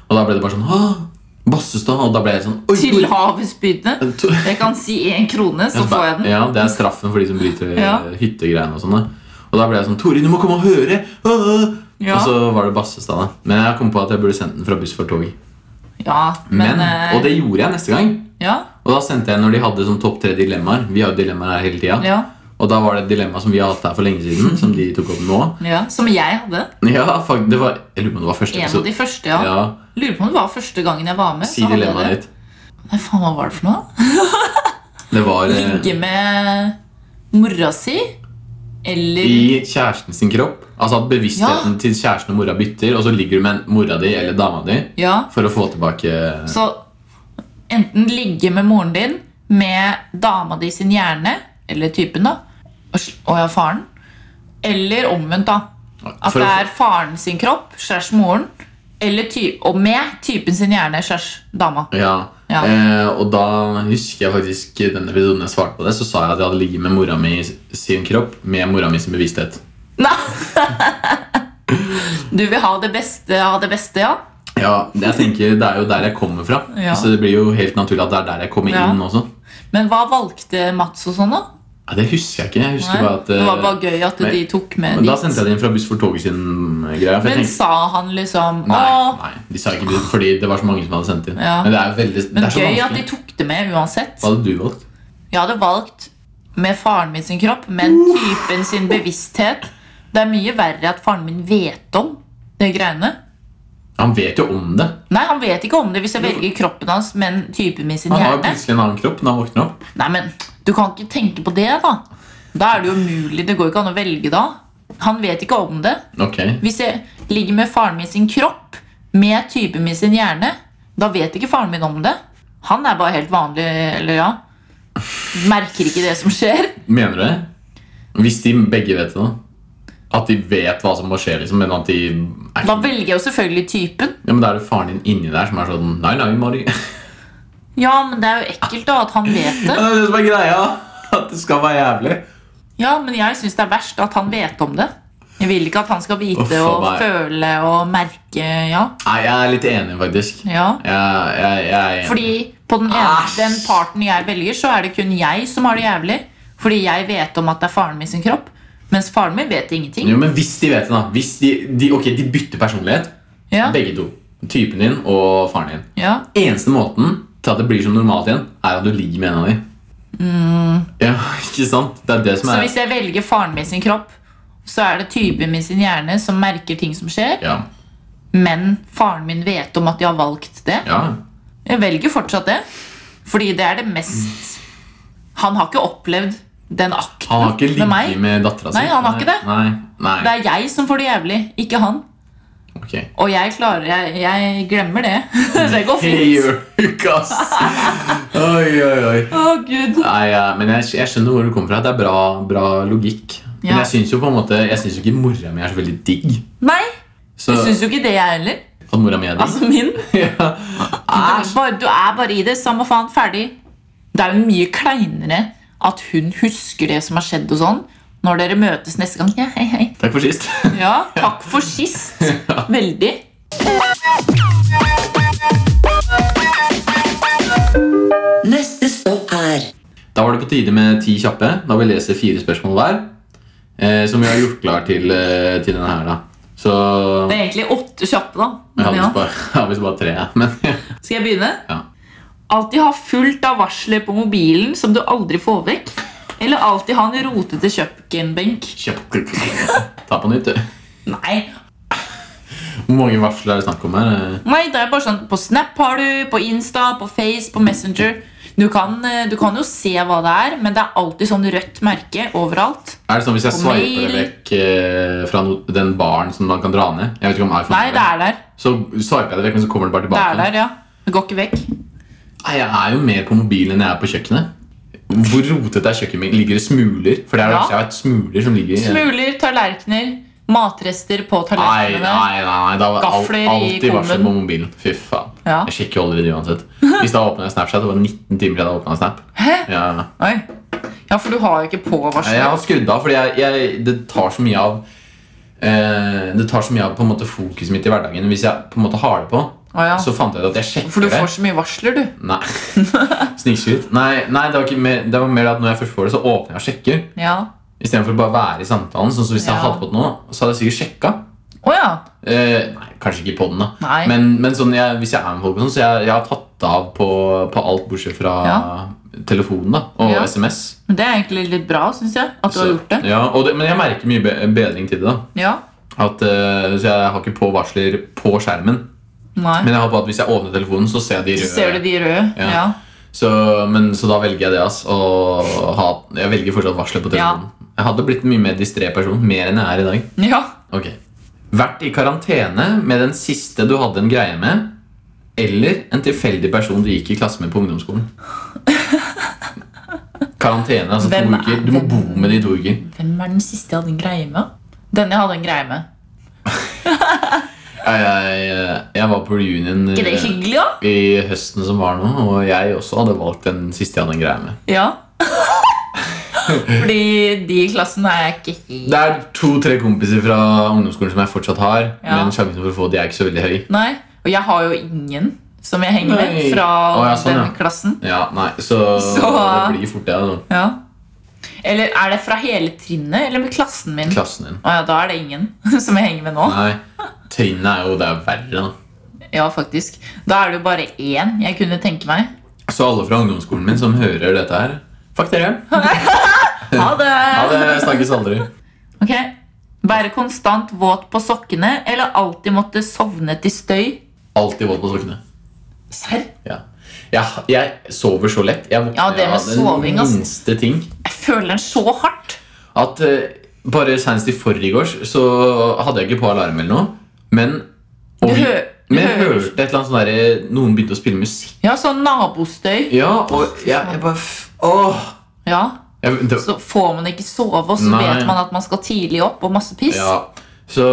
S1: Og da ble det bare sånn Hå! Bassestad! Og da ble jeg sånn «Oi,
S3: Til
S1: Tor-
S3: havsbydene.
S1: Tor-
S3: Jeg kan si én krone, så får jeg den.
S1: Ja, Det er straffen for de som bryter eh,
S3: Ja.
S1: hyttegreiene. Og sånn da. Og da ble jeg sånn Tori, du må komme og høre! Åh!
S3: Ja,
S1: Og så var det Bassestad. da. Men jeg kom på at jeg burde sendt den fra buss for tog.
S3: ja men,
S1: Men,
S3: eh,
S1: Og det gjorde jeg neste gang.
S3: ja,
S1: Og da sendte jeg når de hadde sånn topp tre dilemmaer. Vi har jo dilemmaer her hele tiden
S3: ja,
S1: Og da var det et dilemma som vi har hatt her for lenge siden, som de tok opp nå.
S3: ja. Som jeg hadde.
S1: Ja, fakt, det var, Jeg lurer på om det var første
S3: En av de
S1: episode.
S3: første, ja.
S1: Ja,
S3: Lurer på om det var første gangen jeg var med.
S1: Si
S3: hadde jeg
S1: dilemmaet
S3: det.
S1: ditt.
S3: Nei, faen, hva var det for noe?
S1: Det var eh,
S3: Ligge med mora si? Eller
S1: i kjæresten sin kropp. Altså at bevisstheten til kjæresten og mora bytter, og så ligger du med en- mora di eller dama di
S3: Ja.
S1: for å få tilbake
S3: Så enten ligge med moren din, med dama di sin hjerne, eller typen, da, og sl- og ja, faren. Eller omvendt, da. At
S1: for å
S3: det
S1: få-
S3: er faren sin kropp slash moren, eller ty og med typen sin hjerne slash dama.
S1: Ja,
S3: Ja.
S1: Eh, og da husker jeg faktisk den episoden jeg svarte på det, så sa jeg at jeg hadde ligget med mora mi sin kropp med mora mi sin bevissthet.
S3: Nei. Du vil ha det beste av det beste, ja?
S1: Ja, det jeg tenker, det er jo der jeg kommer fra,
S3: Ja.
S1: så det blir jo helt naturlig at det er der jeg kommer
S3: Ja.
S1: inn også.
S3: Men hva valgte Mats og sånn, da?
S1: Ja, det husker jeg ikke. jeg husker
S3: Nei,
S1: bare at...
S3: det var
S1: eh,
S3: bare gøy at
S1: men-
S3: de tok med
S1: men da
S3: dit.
S1: sendte jeg det inn fra buss for toget sin eh, greia, for jeg
S3: Men
S1: tenkte...
S3: sa han liksom
S1: Nei,
S3: Å,
S1: nei, de sa ikke det, fordi det var så mange som hadde sendt inn.
S3: Ja.
S1: Men det er jo veldig...
S3: men
S1: det er så
S3: gøy at de
S1: vanskelig.
S3: tok det med uansett.
S1: Hva hadde du valgt?
S3: Jeg hadde valgt med faren min sin kropp, men typen sin bevissthet. Det er mye verre at faren min vet om de greiene.
S1: Han vet jo om det.
S3: Nei, han vet ikke om det hvis jeg velger kroppen hans, men typen min sin
S1: Han har jo
S3: hjerne.
S1: plutselig en annen kropp når han våkner opp.
S3: Nei, men du kan ikke tenke på det, da. Da er det jo umulig. Det går ikke an å velge da. Han vet ikke om det.
S1: Ok,
S3: Hvis jeg ligger med faren min sin kropp, med typen min sin hjerne, da vet ikke faren min om det. Han er bare helt vanlig, eller ja. Merker ikke det som skjer.
S1: Mener du det? Hvis de begge vet det, da? At de vet hva som må skje, liksom, men at de er
S3: Da velger jeg jo selvfølgelig typen.
S1: Ja, men da er det faren din inni der som er sånn Nei, nei, Mari. Ja,
S3: Ja, men det er jo ekkelt da at han vet
S1: det
S3: det.
S1: er det som er greia. At det skal være jævlig.
S3: Ja, men jeg syns det er verst at han vet om det. Jeg vil ikke at han skal vite
S1: Uff,
S3: og
S1: nei.
S3: føle og merke, ja.
S1: Nei, jeg er litt enig, faktisk.
S3: ja.
S1: Jeg, jeg, jeg er enig.
S3: Fordi på den, ene,
S1: Æsj.
S3: den parten jeg velger, så er det kun jeg som har det jævlig. Fordi jeg vet om at det er faren min sin kropp, mens faren min vet ingenting.
S1: Jo, men hvis de vet det, da. Hvis de, de, ok, de bytter personlighet,
S3: Ja,
S1: begge to. Typen din og faren din.
S3: ja.
S1: Eneste måten til at det blir som normalt igjen, er at du ligger med en av dem. Ja, ikke sant? Det er det som
S3: Mm. Så
S1: er
S3: hvis jeg velger faren min sin kropp, så er det typen min sin hjerne som merker ting som skjer,
S1: Ja,
S3: men faren min vet om at de har valgt det.
S1: ja.
S3: Jeg velger fortsatt det, fordi det er det mest Han har ikke opplevd den akten
S1: Han har ikke
S3: med meg.
S1: ligget med dattera si.
S3: Nei, han har ikke det.
S1: Nei, nei.
S3: Det er jeg som får det jævlig, ikke han.
S1: Ok.
S3: Og jeg klarer Jeg, jeg glemmer det. det går fint.
S1: Hey, Lukas. Oi, oi, oi.
S3: Å, gud.
S1: Nei, ja, men jeg, jeg skjønner hvor du kommer fra. Det er bra, bra logikk. Men
S3: Ja.
S1: jeg syns jo på en måte Jeg synes jo ikke mora mi er så veldig digg.
S3: Nei,
S1: Så
S3: du syns jo ikke det, jeg heller.
S1: at mora mi er digg.
S3: Altså min.
S1: ja.
S3: Du er bare, du er bare i det. Samme faen, ferdig. Det er jo mye kleinere at hun husker det som har skjedd, og sånn når dere møtes neste gang. Ja, hei, hei.
S1: Takk for sist.
S3: Ja, takk for sist. Veldig.
S2: Neste stopp er
S1: Da var det på tide med ti kjappe. Da vil jeg lese fire spørsmål hver. Eh, som vi har gjort klar til, eh, til denne her, da. Så
S3: Det er egentlig åtte kjappe, da.
S1: Jeg har
S3: Men ja.
S1: visst bare, jeg har visst bare tre, jeg. Men
S3: Skal jeg begynne?
S1: Ja.
S3: Alltid ha fullt av varsler på mobilen som du aldri får vekk. Eller alltid ha en rotete kjøkkenbenk.
S1: kjapp. Ta på nytt, du.
S3: Nei.
S1: Hvor mange varsler er det snakk om her?
S3: Nei, det er bare sånn På Snap har du, på Insta, på Face, på Messenger. Du kan, eh, du kan jo se hva det er, men det er alltid sånn rødt merke overalt.
S1: Er det sånn hvis jeg
S3: På
S1: sveiper det
S3: mail.
S1: vekk eh, fra no den baren som man kan dra ned? Jeg vet ikke om iPhone
S3: Nei, det er der.
S1: Så sveiper jeg det vekk, men så kommer det bare
S3: Det
S1: tilbake.
S3: er der, ja. Det går ikke vekk.
S1: Nei, Jeg er jo mer på mobilen enn jeg er på kjøkkenet. Hvor rotete er kjøkkenet mitt? Ligger det smuler? For det er jo
S3: Ja.
S1: jeg vet, smuler som ligger i
S3: Smuler, tallerkener, matrester på
S1: Nei, nei,
S3: tallerkenene.
S1: nei, nei. Da var alt,
S3: Gafler i
S1: alltid varsel
S3: kummen.
S1: på mobilen. Fy faen.
S3: Ja.
S1: Jeg sjekker jo aldri det uansett. Hvis da åpner jeg Snapchat, det var 19 timer siden jeg åpna Snap.
S3: Hæ?
S1: Ja.
S3: Oi. Ja, for du har jo ikke på
S1: Nei, Jeg
S3: varsler.
S1: har skrudd av, fordi jeg, jeg, det tar så mye av eh, Det tar så mye av på en måte fokuset mitt i hverdagen. Hvis jeg på en måte har det på,
S3: Å, ja.
S1: så fant jeg ut at jeg sjekker
S3: For du
S1: det.
S3: får så mye varsler, du.
S1: Nei. Snikskryt. Nei, nei det, var ikke mer, det var mer at når jeg først får det, så åpner jeg og sjekker.
S3: Ja.
S1: Istedenfor å bare være i samtalen. Sånn som hvis jeg
S3: Ja.
S1: hadde på det nå, så hadde jeg sikkert sjekka.
S3: Å ja.
S1: Eh, nei, kanskje ikke podden, da.
S3: Nei.
S1: Men, men sånn, jeg, hvis jeg er med folk, og sånn, så jeg, jeg har tatt av på, på alt bortsett fra telefonen da, og
S3: Ja.
S1: SMS.
S3: Men det er egentlig litt bra, syns jeg. At du har
S1: Så-
S3: gjort det.
S1: Ja, og det. Men jeg merker mye be bedring til det. da.
S3: Ja.
S1: At, eh, så jeg har ikke på varsler på skjermen. Men
S3: Nei.
S1: jeg har på at hvis jeg åpner telefonen, så ser jeg de
S3: Så
S1: røde.
S3: ser du de røde.
S1: Ja.
S3: Ja.
S1: Så, men, så da velger jeg det. ass og ha, Jeg velger fortsatt varsler på telefonen. Jeg hadde blitt en mye mer distré person. Mer enn jeg er i dag.
S3: Ja.
S1: Ok Vært i karantene med den siste du hadde en greie med, eller en tilfeldig person du gikk i klasse med på ungdomsskolen? Karantene, altså
S3: Hvem
S1: to
S3: er-
S1: uker. Du må bo
S3: hvem-
S1: med de to uker.
S3: Hvem er den siste jeg hadde en greie med? Denne jeg hadde en greie med.
S1: Jeg, jeg, jeg var på reunion
S3: Ikke det
S1: eh,
S3: hyggelig, da?
S1: i høsten som var nå, og jeg også hadde valgt den siste jeg hadde en greie med.
S3: Ja. Fordi de i klassen er jeg ikke helt
S1: Det er to-tre kompiser fra ungdomsskolen som jeg fortsatt har.
S3: Ja.
S1: Men sjansen for å få de er ikke så veldig høy.
S3: Nei. Og jeg har jo ingen som jeg henger med
S1: Nei.
S3: fra
S1: Å, ja, sånn,
S3: den
S1: ja.
S3: klassen.
S1: Ja, nei, Så,
S3: Så-
S1: det blir fort det. da.
S3: Ja. Eller er det fra hele trinnet eller med klassen min?
S1: Klassen din.
S3: Å ja, da er det ingen som jeg henger med nå.
S1: Nei, Trinnet er jo det er verre, da.
S3: Ja, faktisk. Da er det jo bare én jeg kunne tenke meg.
S1: Så alle fra ungdomsskolen min som hører dette her Fuck dere!
S3: Ha det!
S1: Ja, det snakkes aldri.
S3: Ok. Være konstant våt på sokkene eller alltid måtte sovne til støy?
S1: Alltid våt på sokkene.
S3: Serr?
S1: Ja. Jeg, jeg sover så lett. Jeg våkner
S3: Ja, det med
S1: av den
S3: soving, ass.
S1: minste ting.
S3: Jeg føler den så hardt.
S1: At eh, Bare senest i forgårs så hadde jeg ikke på alarm eller noe, men
S3: Du
S1: og-
S3: hø- du
S1: Men jeg
S3: hører-
S1: hørte et eller annet sånn der, noen begynte å spille musikk.
S3: Ja, sånn nabostøy.
S1: Ja, og jeg, jeg bare f- Åh!
S3: Ja.
S1: Jeg, det,
S3: Så får man ikke sove, og så
S1: Nei.
S3: vet man at man skal tidlig opp og masse piss.
S1: ja. så,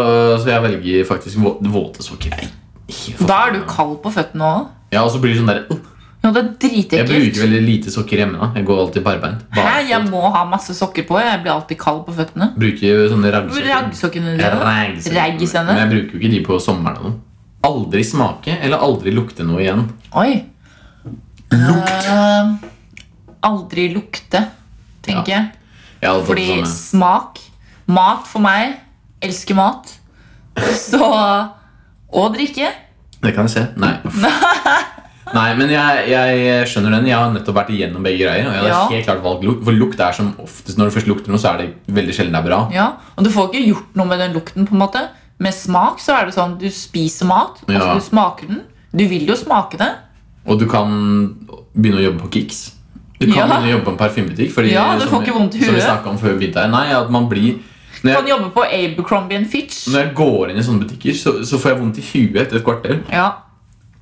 S1: så jeg velger faktisk vå, våte sokker. Nei, ikke for
S3: Da er du
S1: faen.
S3: kald på føttene òg.
S1: Ja, og så blir det sånn der «Åh!»
S3: Ja, det er
S1: Jeg bruker
S3: dritekkelt.
S1: veldig lite sokker hjemme. da Jeg går alltid barbeint.
S3: Hæ, jeg
S1: Barfot.
S3: må ha masse sokker på. Jeg blir alltid kald på føttene.
S1: Bruker sånne raggsokker.
S3: Raggsokkene
S1: Ja,
S3: dine.
S1: raggsokker.
S3: Raggisene.
S1: Men jeg bruker jo ikke de på sommeren. og noe. Aldri smake eller aldri lukte noe igjen.
S3: Oi. Lukt. aldri lukte, tenker jeg.
S1: Jeg hadde fått
S3: Fordi
S1: det samme.
S3: smak Mat for meg. Elsker mat. Så Og drikke.
S1: Det kan jeg se. Nei. uff. Nei, men jeg, jeg skjønner den. Jeg har nettopp vært igjennom begge greier. Og jeg hadde
S3: Ja.
S1: helt klart valgt lukt, For lukt er som oftest når du først lukter noe, så er det veldig sjelden det er bra.
S3: Ja. Og du får ikke gjort noe med den lukten. på en måte Med smak så er det sånn du spiser mat, og
S1: Ja.
S3: så du smaker den. Du vil jo smake det.
S1: Og du kan begynne å jobbe på Kicks. Du kan
S3: Ja.
S1: begynne å jobbe på en parfymebutikk. fordi,
S3: Ja, du får
S1: som-
S3: ikke vondt i
S1: Som vi
S3: huet.
S1: snakket om før vi begynte her. Nei, at man blir når
S3: Du kan
S1: jeg,
S3: jobbe på Abercrombie and Fitch.
S1: når jeg går inn i sånne butikker, så, så får jeg vondt i huet etter et kvarter.
S3: Ja,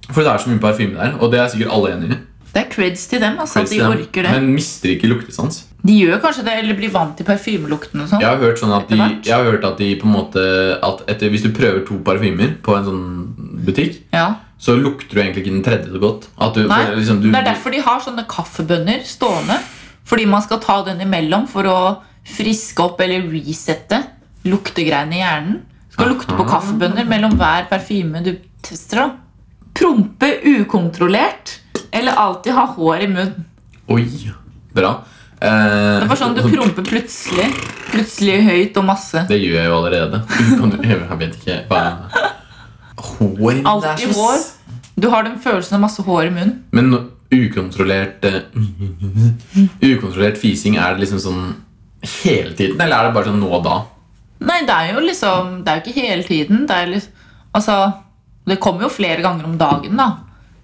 S1: For det er så mye parfyme der, og det er sikkert alle enig i.
S3: Det er creds til dem. altså at de orker det
S1: Men mister ikke luktesans.
S3: De gjør kanskje det, eller blir vant til parfymelukten. og sånn
S1: Jeg har hørt sånn at de,
S3: Etter hvert.
S1: jeg har hørt at de på en måte at etter, Hvis du prøver to parfymer på en sånn butikk,
S3: ja.
S1: så lukter du egentlig ikke den tredje så godt. At du,
S3: Nei,
S1: for liksom, du,
S3: Det er derfor de har sånne kaffebønner stående. Fordi man skal ta den imellom for å friske opp eller resette luktegreiene i hjernen. Du skal lukte på kaffebønner mellom hver parfyme du tester. da. Prompe ukontrollert eller alltid ha hår i munnen.
S1: Oi, bra. Eh,
S3: Det var sånn du promper plutselig. Plutselig høyt og masse.
S1: Det gjør jeg jo allerede. Kan du- Jeg vet ikke hva Hår det er så-
S3: Alltid hår. Du har den følelsen av masse hår i munnen.
S1: Men no- ukontrollert eh, Ukontrollert fising, er det liksom sånn hele tiden, eller er det bare sånn nå og da?
S3: Nei, det er jo liksom Det er jo ikke hele tiden. Det er liksom, altså, det kommer jo flere ganger om dagen, da.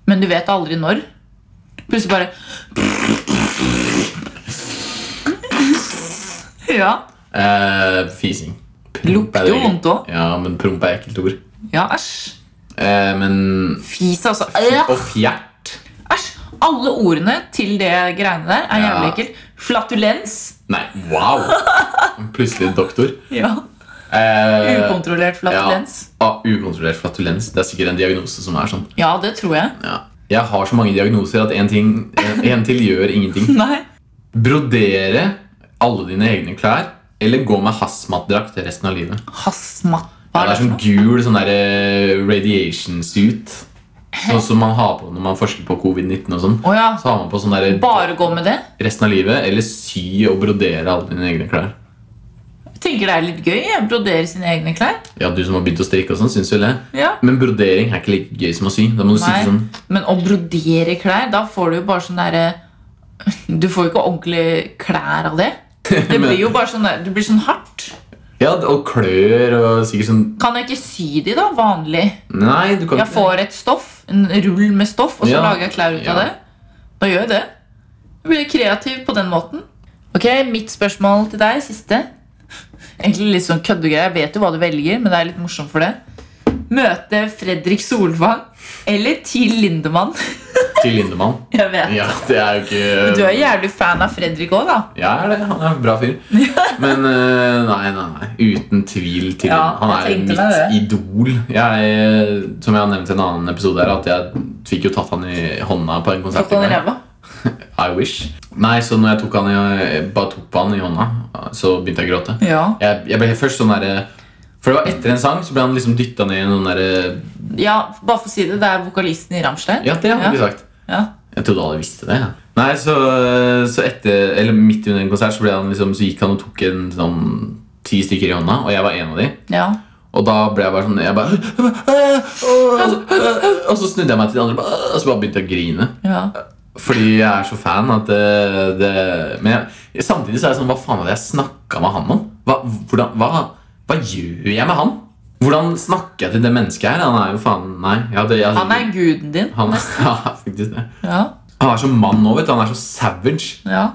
S3: Men du vet aldri når. Plutselig bare Ja.
S1: Eh, fising. Promp er
S3: Lukter
S1: det
S3: jo
S1: ikke-
S3: vondt òg.
S1: Ja, men promp er ekkelt ord.
S3: Ja, æsj.
S1: Eh, men
S3: Fis, altså.
S1: Og
S3: Øh,
S1: fjert
S3: Æsj. Alle ordene til det greiene der er
S1: Ja.
S3: jævlig ekkelt. Flatulens.
S1: Nei, wow! Plutselig doktor.
S3: Ja.
S1: Eh,
S3: Ukontrollert flatulens.
S1: Ja, ah, ukontrollert flatulens. Det er sikkert en diagnose som er sånn.
S3: Ja, det tror jeg.
S1: Ja. Jeg har så mange diagnoser at én ting en- en til gjør ingenting.
S3: Nei.
S1: Brodere alle dine egne klær, eller gå med hazmat-drakt resten av livet.
S3: Hasmat.
S1: Ja,
S3: Hva
S1: det er
S3: for
S1: sånn
S3: noe?
S1: gul sånn der, eh, radiation suit. Sånn som man har på når man forsker på covid-19 og sånn.
S3: Å ja.
S1: Så har man på sånn der
S3: Bare gå med det?
S1: resten av livet, eller sy og brodere alle dine egne klær.
S3: tenker det er litt gøy. Jeg broderer sine egne klær.
S1: Ja, du som har begynt å strikke og sånn, syns vel det?
S3: Ja.
S1: Men brodering er ikke like gøy som å sy. Da må du sitte
S3: Nei.
S1: sånn
S3: Men å brodere klær, da får du jo bare sånn derre Du får jo ikke ordentlige klær av det. Det
S1: Men-
S3: blir jo bare sånn der, det blir sånn hardt.
S1: Ja, og klør og sikkert sånn
S3: Kan jeg ikke sy de, da? Vanlig.
S1: Nei, du kan
S3: Jeg får et stoff, en rull med stoff, og så
S1: Ja.
S3: lager jeg klær ut av
S1: Ja.
S3: det. Da gjør jeg det. Jeg blir kreativ på den måten. Ok, Mitt spørsmål til deg, siste. Egentlig litt sånn køddegreie. Jeg vet jo hva du velger, men det er litt morsomt for det. Møte Fredrik Solvang eller Til Lindemann.
S1: til Lindemann.
S3: Jeg vet.
S1: Ja, det er jo ikke
S3: Du er jævlig fan av Fredrik òg, da.
S1: Jeg er det. Han er en bra fyr. Men eh, nei, nei, nei. Uten tvil til
S3: Ja,
S1: Han er jo
S3: jeg tenkte
S1: mitt
S3: meg
S1: idol. Jeg, eh, som jeg har nevnt i en annen episode, her, at jeg fikk jo tatt han i hånda på en konsert.
S3: Tatt han i
S1: en gang.
S3: ræva.
S1: I wish. Nei, så når jeg tok han i, jeg bare tok på han i hånda, så begynte jeg å gråte.
S3: Ja.
S1: Jeg, jeg ble først sånn derre For det var etter en sang, så ble han liksom dytta ned i noen derre
S3: ja, bare for å si det, det er vokalisten i Rammstein.
S1: Ja, det har vi sagt.
S3: Ja.
S1: Jeg trodde alle visste det. ja. Nei, så, så etter, eller midt under en konsert så, ble han liksom, så gikk han og tok en sånn ti stykker i hånda, og jeg var en av de.
S3: ja.
S1: Og da ble jeg bare sånn jeg bare, «Åh, åh, åh», Og så snudde jeg meg til de andre bare, «Åh», og så bare begynte jeg å grine.
S3: ja. Fordi
S1: Fordi jeg er så fan at det, det Men jeg, samtidig så er det sånn Hva faen hadde jeg snakka med han om? Hva, hvordan, hva, hva gjør jeg med han? Hvordan snakker jeg til det mennesket her? Han er jo faen Nei. Ja, det, jeg,
S3: Han er guden din.
S1: han, ja, faktisk det.
S3: Ja.
S1: Han er som mann nå, vet du. Han er så savage.
S3: ja.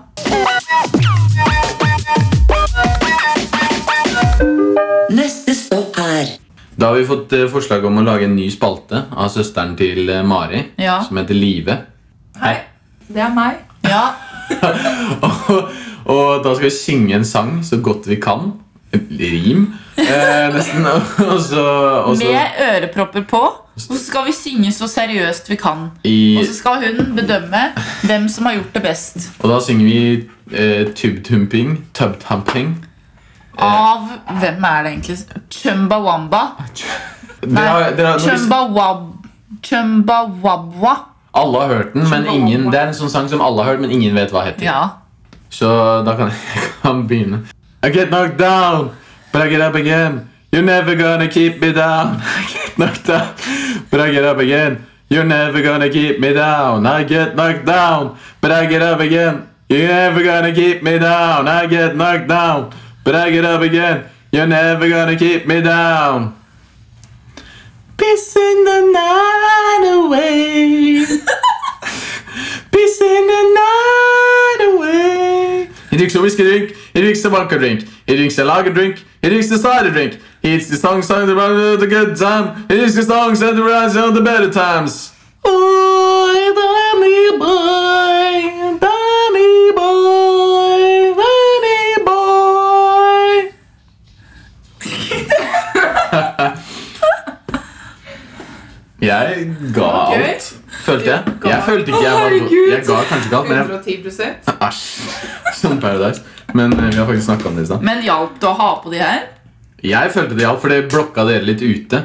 S2: Neste stopp er
S1: Da har vi fått eh, forslag om å lage en ny spalte av søsteren til eh, Mari,
S3: Ja.
S1: som heter Live. Hei.
S4: Det er meg.
S3: ja.
S1: og, og da skal vi synge en sang så godt vi kan. Rim, eh, nesten. Og så, og så
S3: Med ørepropper på. Og så skal vi synge så seriøst vi kan.
S1: i,
S3: Og så skal hun bedømme hvem som har gjort det best.
S1: Og da synger vi eh, tubtumping, tubtumping.
S3: Av hvem er det egentlig? Chumbawamba.
S1: Dere har, dere har, når vi-
S3: Chumbawab... Chumbawabwa.
S1: alle har hørt den, men
S3: Chumbawamba.
S1: ingen, det er en sånn sang som alle har hørt, men ingen vet hva heter.
S3: Ja.
S1: Så da kan jeg kan begynne. I get knocked down, but I get up again. You're never gonna keep me down. I get knocked down, but I get up again. You're never gonna keep me down. I get knocked down, but I get up again. You're never gonna keep me down. I get knocked down, but I get up again. You're never gonna keep me down. Pissing the night away. Pissing the night away. He drinks a whiskey drink, he drinks a vodka drink, he drinks a lager drink, he drinks a cider drink. He eats the song song the run of the good time, he eats the song song the rise of the better times. Oh, bunny boy, bunny boy, bunny boy. Jeg ga
S4: Ok.
S1: alt, følte jeg.
S4: ga-
S1: Jeg følte ikke jeg var
S4: Herregud.
S1: Jeg ga kanskje ikke alt, men jeg
S4: 110
S1: Æsj. Som Paradise. Men eh, vi har faktisk snakka om det i stad.
S3: Men hjalp det å ha på de her?
S1: Jeg følte det hjalp, for det blokka dere litt ute.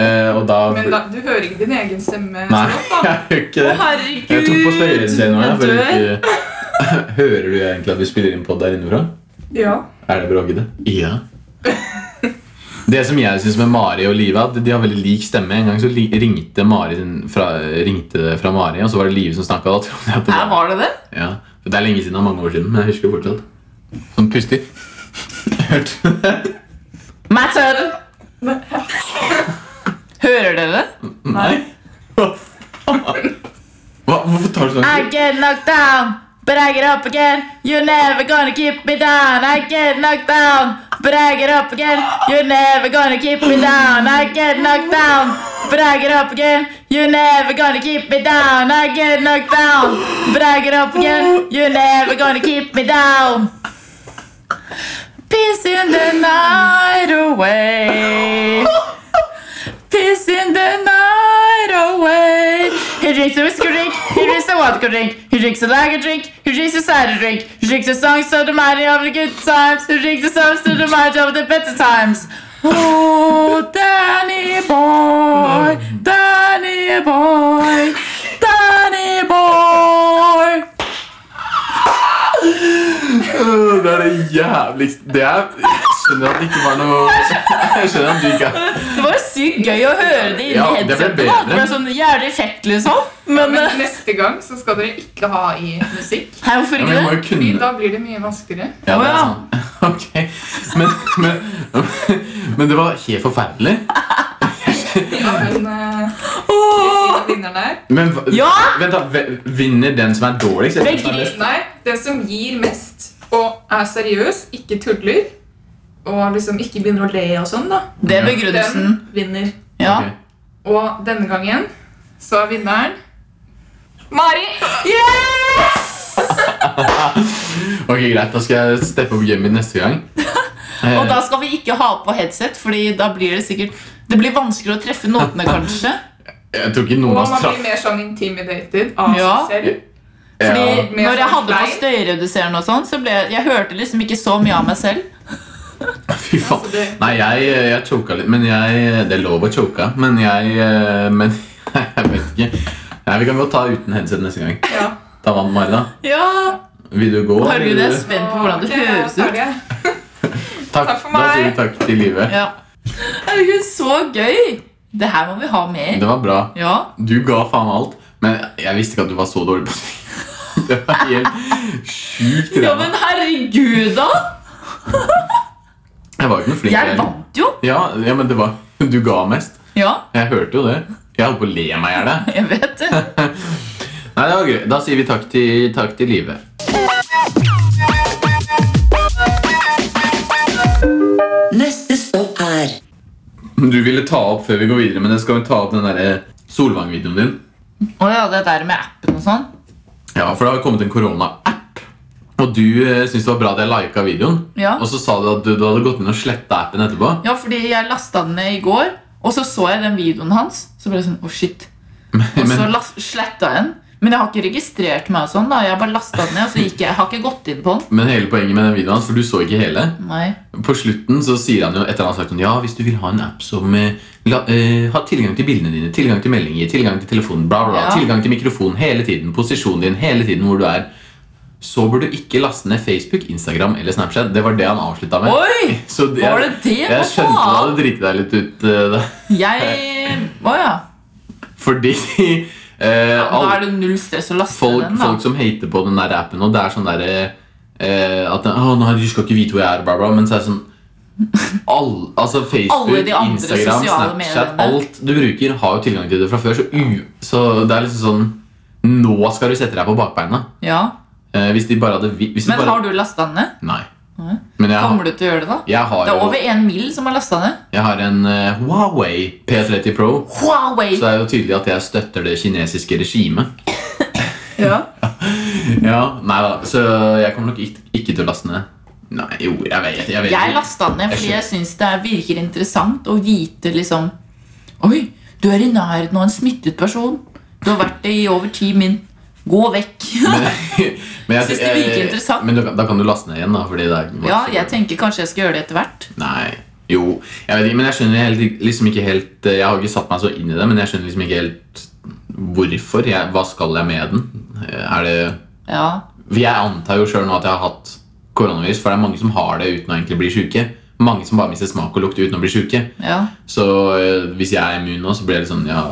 S1: Eh, og da,
S4: Men da, du hører ikke din egen stemme?
S1: Nei,
S4: så godt, da.
S1: jeg gjør ikke
S3: Å,
S1: det.
S3: herregud!
S1: Jeg tok på støyredscenen
S3: jeg
S1: for
S3: dør.
S1: ikke Hører du egentlig at vi spiller inn pod der innefra?
S4: Ja.
S1: Er det bråkete? Ja. Det som jeg synes med Mari og Live, at de har veldig lik stemme. En gang så li- ringte Mari sin- fra, ringte det fra Mari, og så var det Live som snakka. Da trodde jeg at det
S3: Her
S1: var
S3: var det det.
S1: Ja, for Det er lenge siden, det er mange år siden, men jeg husker det fortsatt. Sånn puster. Hørte du det?
S3: Matter!
S4: Men-
S3: Hører dere det?
S1: Nei. Hva faen? Hva, hvorfor tar du sånn?
S3: I get knocked down, but I get up again. You're never gonna keep me down. I get knocked down, but I get up again. You're never gonna keep me down. I get knocked down, but I get up again. You're never gonna keep me down. I get knocked down, but I get up again. You're never gonna keep me down. Peace in the night away. Piss in the night away. He drinks a whiskey drink, he drinks a vodka drink, he drinks a lager drink, he drinks a cider drink, he drinks a song so the mighty of the good times, he drinks a song so the mighty of the better times. Oh, Danny boy, Danny boy, Danny boy.
S1: Øh, Det er det jævligste Det er skjønner at det ikke var noe Jeg skjønner at du ikke er
S3: Det var jo sykt gøy å høre det inni
S1: Ja, det ble
S3: headsetet. da.
S1: bedre.
S3: Det ble sånn jævlig fett, liksom. Men,
S4: Men
S3: eh,
S4: neste gang så skal dere ikke ha i musikk.
S3: hei, hvorfor
S1: Ja, men
S3: ikke
S1: jeg må
S3: det?
S1: jo
S4: Fordi
S1: kunne
S4: da blir det mye vanskeligere.
S1: Ja, det
S3: Å,
S1: er
S3: ja.
S1: sant. Ok. Men, men, men det var helt forferdelig.
S4: Ja, men eh,
S3: Åh!
S4: siden vinneren er
S1: Men hva-
S3: Ja!
S1: vent, da. ve- Vinner den som er dårligst? eller den som er best?
S4: Nei, den som gir mest og er seriøs, ikke tuller, og liksom ikke begynner å le og sånn, da,
S3: Det
S1: Ja.
S3: er begrunnelsen.
S4: den vinner.
S3: Ja.
S1: Ok.
S4: Og denne gangen så er vinneren Mari!
S3: Yes!
S1: ok, greit. Da skal jeg steppe opp gamet mitt neste gang.
S3: Og da skal vi ikke ha på headset, Fordi da blir det sikkert Det blir vanskeligere å treffe notene, kanskje.
S1: Jeg tror ikke
S4: Og
S1: noen av oss
S4: man
S1: traff
S4: blir mer sånn intimidated av
S3: Ja.
S4: seg selv.
S1: Ja.
S3: Fordi når jeg hadde på støyreduserende og sånn, så ble jeg, jeg hørte liksom ikke så mye av meg selv.
S1: Fy faen.
S4: Altså, det-
S1: Nei, jeg, jeg choka litt. Men jeg Det er lov å choke, men jeg eh, Men jeg vet ikke. Nei, Vi kan godt ta uten headset neste gang.
S4: Ja.
S1: Ta vann, Mari, da.
S3: Ja,
S1: Vil du gå?
S3: Herregud, jeg
S1: eller?
S3: er spent på hvordan
S4: Ok,
S3: det
S4: jeg
S3: høres
S4: tar
S3: ut.
S4: det.
S1: Takk,
S4: Takk for
S1: Da
S4: meg.
S1: sier vi takk til livet.
S3: Ja. Herregud, så gøy! Det her må vi ha mer.
S1: Det var bra.
S3: Ja.
S1: Du ga faen alt, men jeg visste ikke at du var så dårlig på det. Det var helt sjukt.
S3: ja,
S1: ræva.
S3: men herregud, da!
S1: Jeg var jo ikke noe flink.
S3: Jeg vant jo.
S1: Ja, ja, men det var Du ga mest.
S3: Ja,
S1: Jeg hørte jo det. Jeg holdt på å le meg i hjel. jeg.
S3: jeg vet det.
S1: Nei, det var gøy. Da sier vi takk til, takk til livet.
S2: Neste stopp er
S1: Du ville ta opp før vi går videre, men jeg skal jo ta opp den der eh, Solvang-videoen din.
S3: Å ja, det der med appen og sånn.
S1: Ja, for det har kommet en korona-app. Og du eh, syntes det var bra at jeg lika videoen.
S3: Ja.
S1: Og så sa du at du, du hadde gått inn og sletta appen etterpå.
S3: Ja, fordi jeg lasta den ned i går, og så så jeg den videoen hans. Så ble jeg sånn, å shit. Og så las- sletta jeg den. Men jeg har ikke registrert meg og sånn. da Jeg har bare lasta den ned, og så gikk jeg, jeg har ikke gått inn på den.
S1: Men hele poenget med den videoen hans, for du så ikke hele
S3: Nei.
S1: På slutten så sier han jo etter han har sagt sånn Ja, hvis du vil ha en app som eh, la, eh, har tilgang til bildene dine, tilgang til meldinger, tilgang til telefonen, bla, bla, bla,
S3: Ja.
S1: tilgang til mikrofon hele tiden, posisjonen din hele tiden hvor du er, så bør du ikke laste ned Facebook, Instagram eller Snapchat. Det var det han avslutta med.
S3: Oi!
S1: Så det,
S3: Var det det? Hva
S1: Jeg skjønte du
S3: faen?
S1: hadde driti deg litt ut eh, da.
S3: Jeg Å ja.
S1: Fordi eh,
S3: Da
S1: alle,
S3: er det null stress å laste
S1: folk,
S3: den, da.
S1: folk som hater på den der appen, og det er sånn der eh, At «Å, nei, du skal ikke vite hvor jeg er, bla, bla. Men så er det sånn alle, altså Facebook,
S3: Alle de andre
S1: Instagram,
S3: sosiale
S1: Snapchat
S3: mediene.
S1: Alt du bruker, har jo tilgang til det fra før. Så, u, så det er liksom sånn Nå skal du sette deg på bakbeina.
S3: Ja.
S1: Eh, hvis de bare hadde vi- hvis de
S3: Men
S1: bare,
S3: har du lasta den ned?
S1: Nei.
S3: Nei.
S1: Men jeg, har-
S3: Kommer du til å gjøre det, da?
S1: jeg har
S3: Det er
S1: jo
S3: over én mil som har lasta ned.
S1: Jeg har en eh, Huawei P30 Pro.
S3: Huawei!
S1: Så det er jo tydelig at jeg støtter det kinesiske regimet.
S3: Ja.
S1: Ja, nei da, Så jeg kommer nok ikke, ikke til å laste ned. Nei, jo, jeg vet, jeg vet
S3: Jeg
S1: ikke.
S3: lasta den ned
S1: Jeg
S3: fordi
S1: skjønner.
S3: jeg syns det er- virker interessant å vite liksom Oi, du er i nærheten av en smittet person. Du har vært det i over ti min. Gå vekk.
S1: Men
S3: Synes det virker interessant.
S1: Men du, kan- da kan du laste ned igjen, da. Fordi det er
S3: Ja, jeg tenker kanskje jeg skal gjøre det etter hvert.
S1: Nei, jo. Jeg vet ikke, men jeg skjønner helt, liksom ikke helt eh, Jeg har ikke satt meg så inn i det, men jeg skjønner liksom ikke helt hvorfor. Jeg, hva skal jeg med den? Eh, Er det
S3: Ja,
S1: For Jeg antar jo sjøl nå at jeg har hatt koronavirus, for det er mange som har det uten å egentlig bli sjuke. Mange som bare mister smak og lukt uten å bli sjuke.
S3: ja.
S1: Så eh, hvis jeg er immun nå, så blir det sånn ja,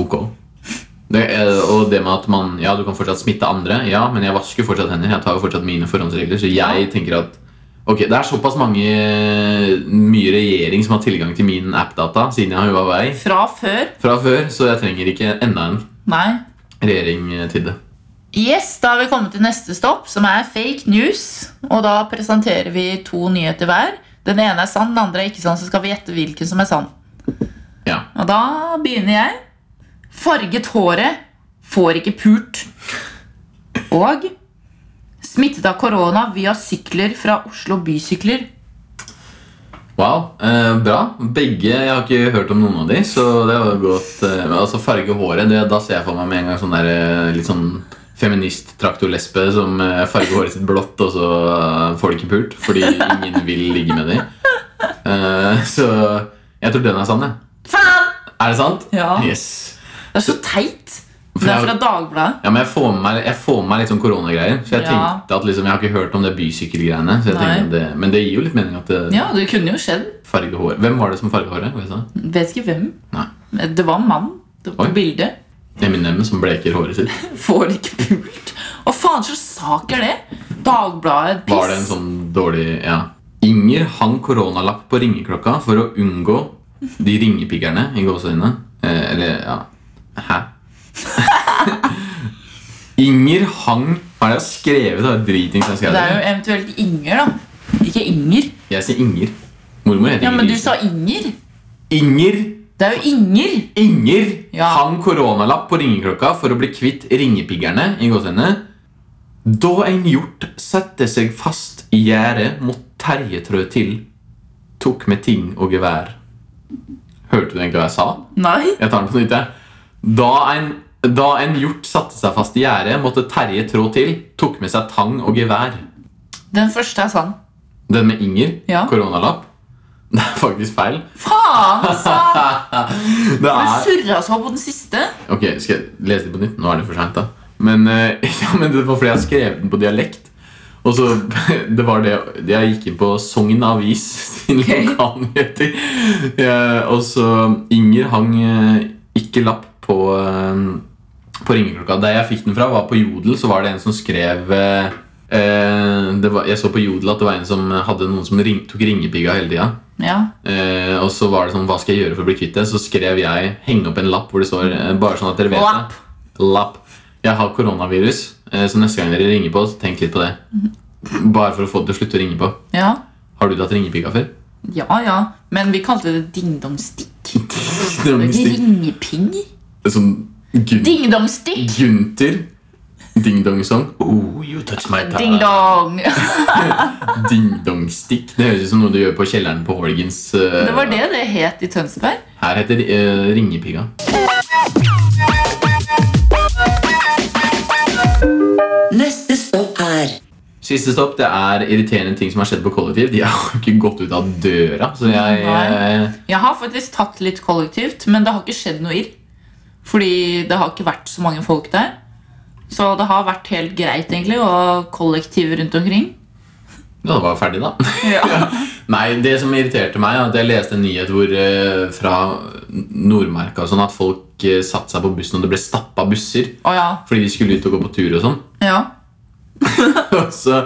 S1: ok. Det, eh, og det med at man Ja, du kan fortsatt smitte andre. Ja, men jeg vasker fortsatt hender. Jeg tar jo fortsatt mine forhåndsregler. Så jeg tenker at Ok, Det er såpass mange mye regjering som har tilgang til min app-data siden jeg har Huawei
S3: Fra før.
S1: fra før, så jeg trenger ikke enda en
S3: Nei.
S1: regjering eh, til det.
S3: Yes, Da har vi kommet til neste stopp, som er fake news. Og Da presenterer vi to nyheter hver. Den ene er sann, den andre er ikke sann. Så skal vi gjette hvilken som er sann.
S1: Ja.
S3: Og da begynner jeg. Farget håret får ikke pult. Og smittet av korona via sykler fra Oslo bysykler.
S1: Wow, eh, bra. Begge, Jeg har ikke hørt om noen av de, så det var jo godt. Eh, men altså Farge håret, det, da ser jeg for meg med en gang sånn der, eh, litt sånn feminist-traktorlesbe som eh, farger håret sitt blått, og så eh, får de ikke pult fordi ingen vil ligge med de. Eh, så jeg tror den er sann, jeg.
S3: Faen!
S1: Er det sant?
S3: Ja.
S1: Yes.
S3: Det er så teit.
S1: For
S3: Det er
S1: jeg-
S3: fra Dagbladet.
S1: Ja, men jeg får med meg, jeg får med meg litt sånn koronagreier. Så jeg
S3: Ja.
S1: tenkte at liksom, jeg har ikke hørt om det bysykkelgreiene. Så jeg
S3: Nei.
S1: tenkte at det, men det gir jo litt mening at det
S3: Ja, det kunne jo skjedd.
S1: farger håret. Hvem var det som farga håret? Hva sa jeg?
S3: Vet ikke hvem.
S1: Nei.
S3: Det var en mann det var
S1: Oi.
S3: på bildet.
S1: Eminem som bleker håret sitt.
S3: Får ikke pult. Hva faen slags sak er det? Dagbladet, piss.
S1: Var det en sånn dårlig Ja. Inger hang koronalapp på ringeklokka for å unngå de ringepiggerne i gåseøynene. Eh, eller ja Hæ? Inger hang Hva er det jeg har skrevet? Det er dritings jeg har
S3: Det er jo
S1: skrevet.
S3: eventuelt Inger, da. Ikke Inger.
S1: Jeg sier Inger. Mormor heter
S3: Ja, men
S1: Inger.
S3: du sa Inger.
S1: Inger
S3: Det er jo Inger.
S1: Inger
S3: Ja.
S1: hang koronalapp på ringeklokka for å bli kvitt ringepiggerne i gåsehudene. Da en hjort satte seg fast i gjerdet mot terjetrø til, tok med ting og gevær. Hørte du egentlig hva jeg sa?
S3: Nei.
S1: Jeg tar den på nytt, jeg. Da en, da en hjort satte seg fast i gjerdet, måtte Terje trå til, tok med seg tang og gevær.
S3: Den første er sann.
S1: Den med Inger,
S3: Ja.
S1: koronalapp, det er faktisk feil.
S3: Faen, altså!
S1: Det
S3: Du
S1: er
S3: surra så på den siste.
S1: Ok, skal jeg lese det på nytt? Nå er det for sent da Men, eh, ja, men det var fordi jeg skrev den på dialekt Og så, det var det Jeg gikk inn på Sogn Avis Sin
S3: Ok.
S1: lokalnyheter Eh, Og så Inger hang eh, ikke lapp på eh, På ringeklokka Der jeg fikk den fra var på Jodel Så var det en som skrev eh, eh, det var, Jeg så på Jodel at det var en som hadde noen som ring, tok ringepigga hele tiden
S3: Ja.
S1: Eh, og så var det sånn, hva skal jeg gjøre for å bli kvitt det? Så skrev jeg, henge opp en lapp hvor det står, eh, bare sånn at dere vet
S3: Lapp.
S1: det. Lapp. Jeg har koronavirus, eh, så neste gang dere ringer på, så tenk litt på det. Bare for å få det til å slutte å ringe på.
S3: Ja.
S1: Har du tatt ringepika før?
S3: Ja, ja. Men vi kalte det dingdongstikk.
S1: Det var mystikk.
S3: Ringeping?
S1: Sånn gun
S3: Dingdongstikk?
S1: Gunter. Ding dong song. Oh, you touch my
S3: Dingdong.
S1: Ding dong stick. Det høres ut som noe du gjør på kjelleren på Holgens. eh,
S3: Det var det det het i Tønsberg.
S1: Her heter uh, ringepika.
S2: Neste stopp er
S1: Siste stopp det er irriterende ting som har skjedd på kollektiv. De har jo ikke gått ut av døra. Så jeg eh,
S3: Nei. Jeg har faktisk tatt litt kollektivt, men det har ikke skjedd noe irr. Fordi det har ikke vært så mange folk der. Så det har vært helt greit egentlig å ha kollektiv rundt omkring.
S1: Ja, det var ferdig, da.
S3: Ja.
S1: Nei, det som irriterte meg, er at jeg leste en nyhet hvor, eh, fra Nordmarka og sånn, at folk eh, satte seg på bussen, og det ble stappa busser
S3: Å ja.
S1: fordi de skulle ut og gå på tur og sånn.
S3: ja.
S1: Og så,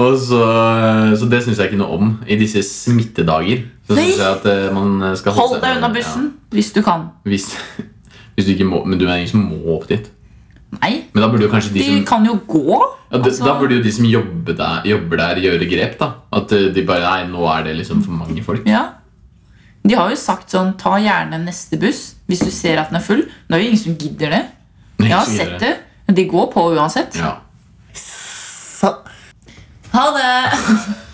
S1: og så, eh, så det syns jeg ikke noe om i disse smittedager. Så
S3: Nei.
S1: synes jeg at eh, man skal holde
S3: Hold
S1: seg-
S3: deg unna bussen hvis du kan.
S1: Ja, hvis, hvis du ikke må, men du er ingen som må opp dit.
S3: Nei,
S1: Men da burde jo kanskje de,
S3: de
S1: som
S3: kan jo gå.
S1: Ja, det,
S3: Altså-
S1: Da burde jo de som jobber der, jobber der gjøre grep. da At eh, de bare Nei, nå er det liksom for mange folk.
S3: Ja. De har jo sagt sånn Ta gjerne neste buss hvis du ser at den er full. Det er jo ingen som gidder det. Jeg har sett det. De går på uansett.
S1: Ja.
S3: Ha det!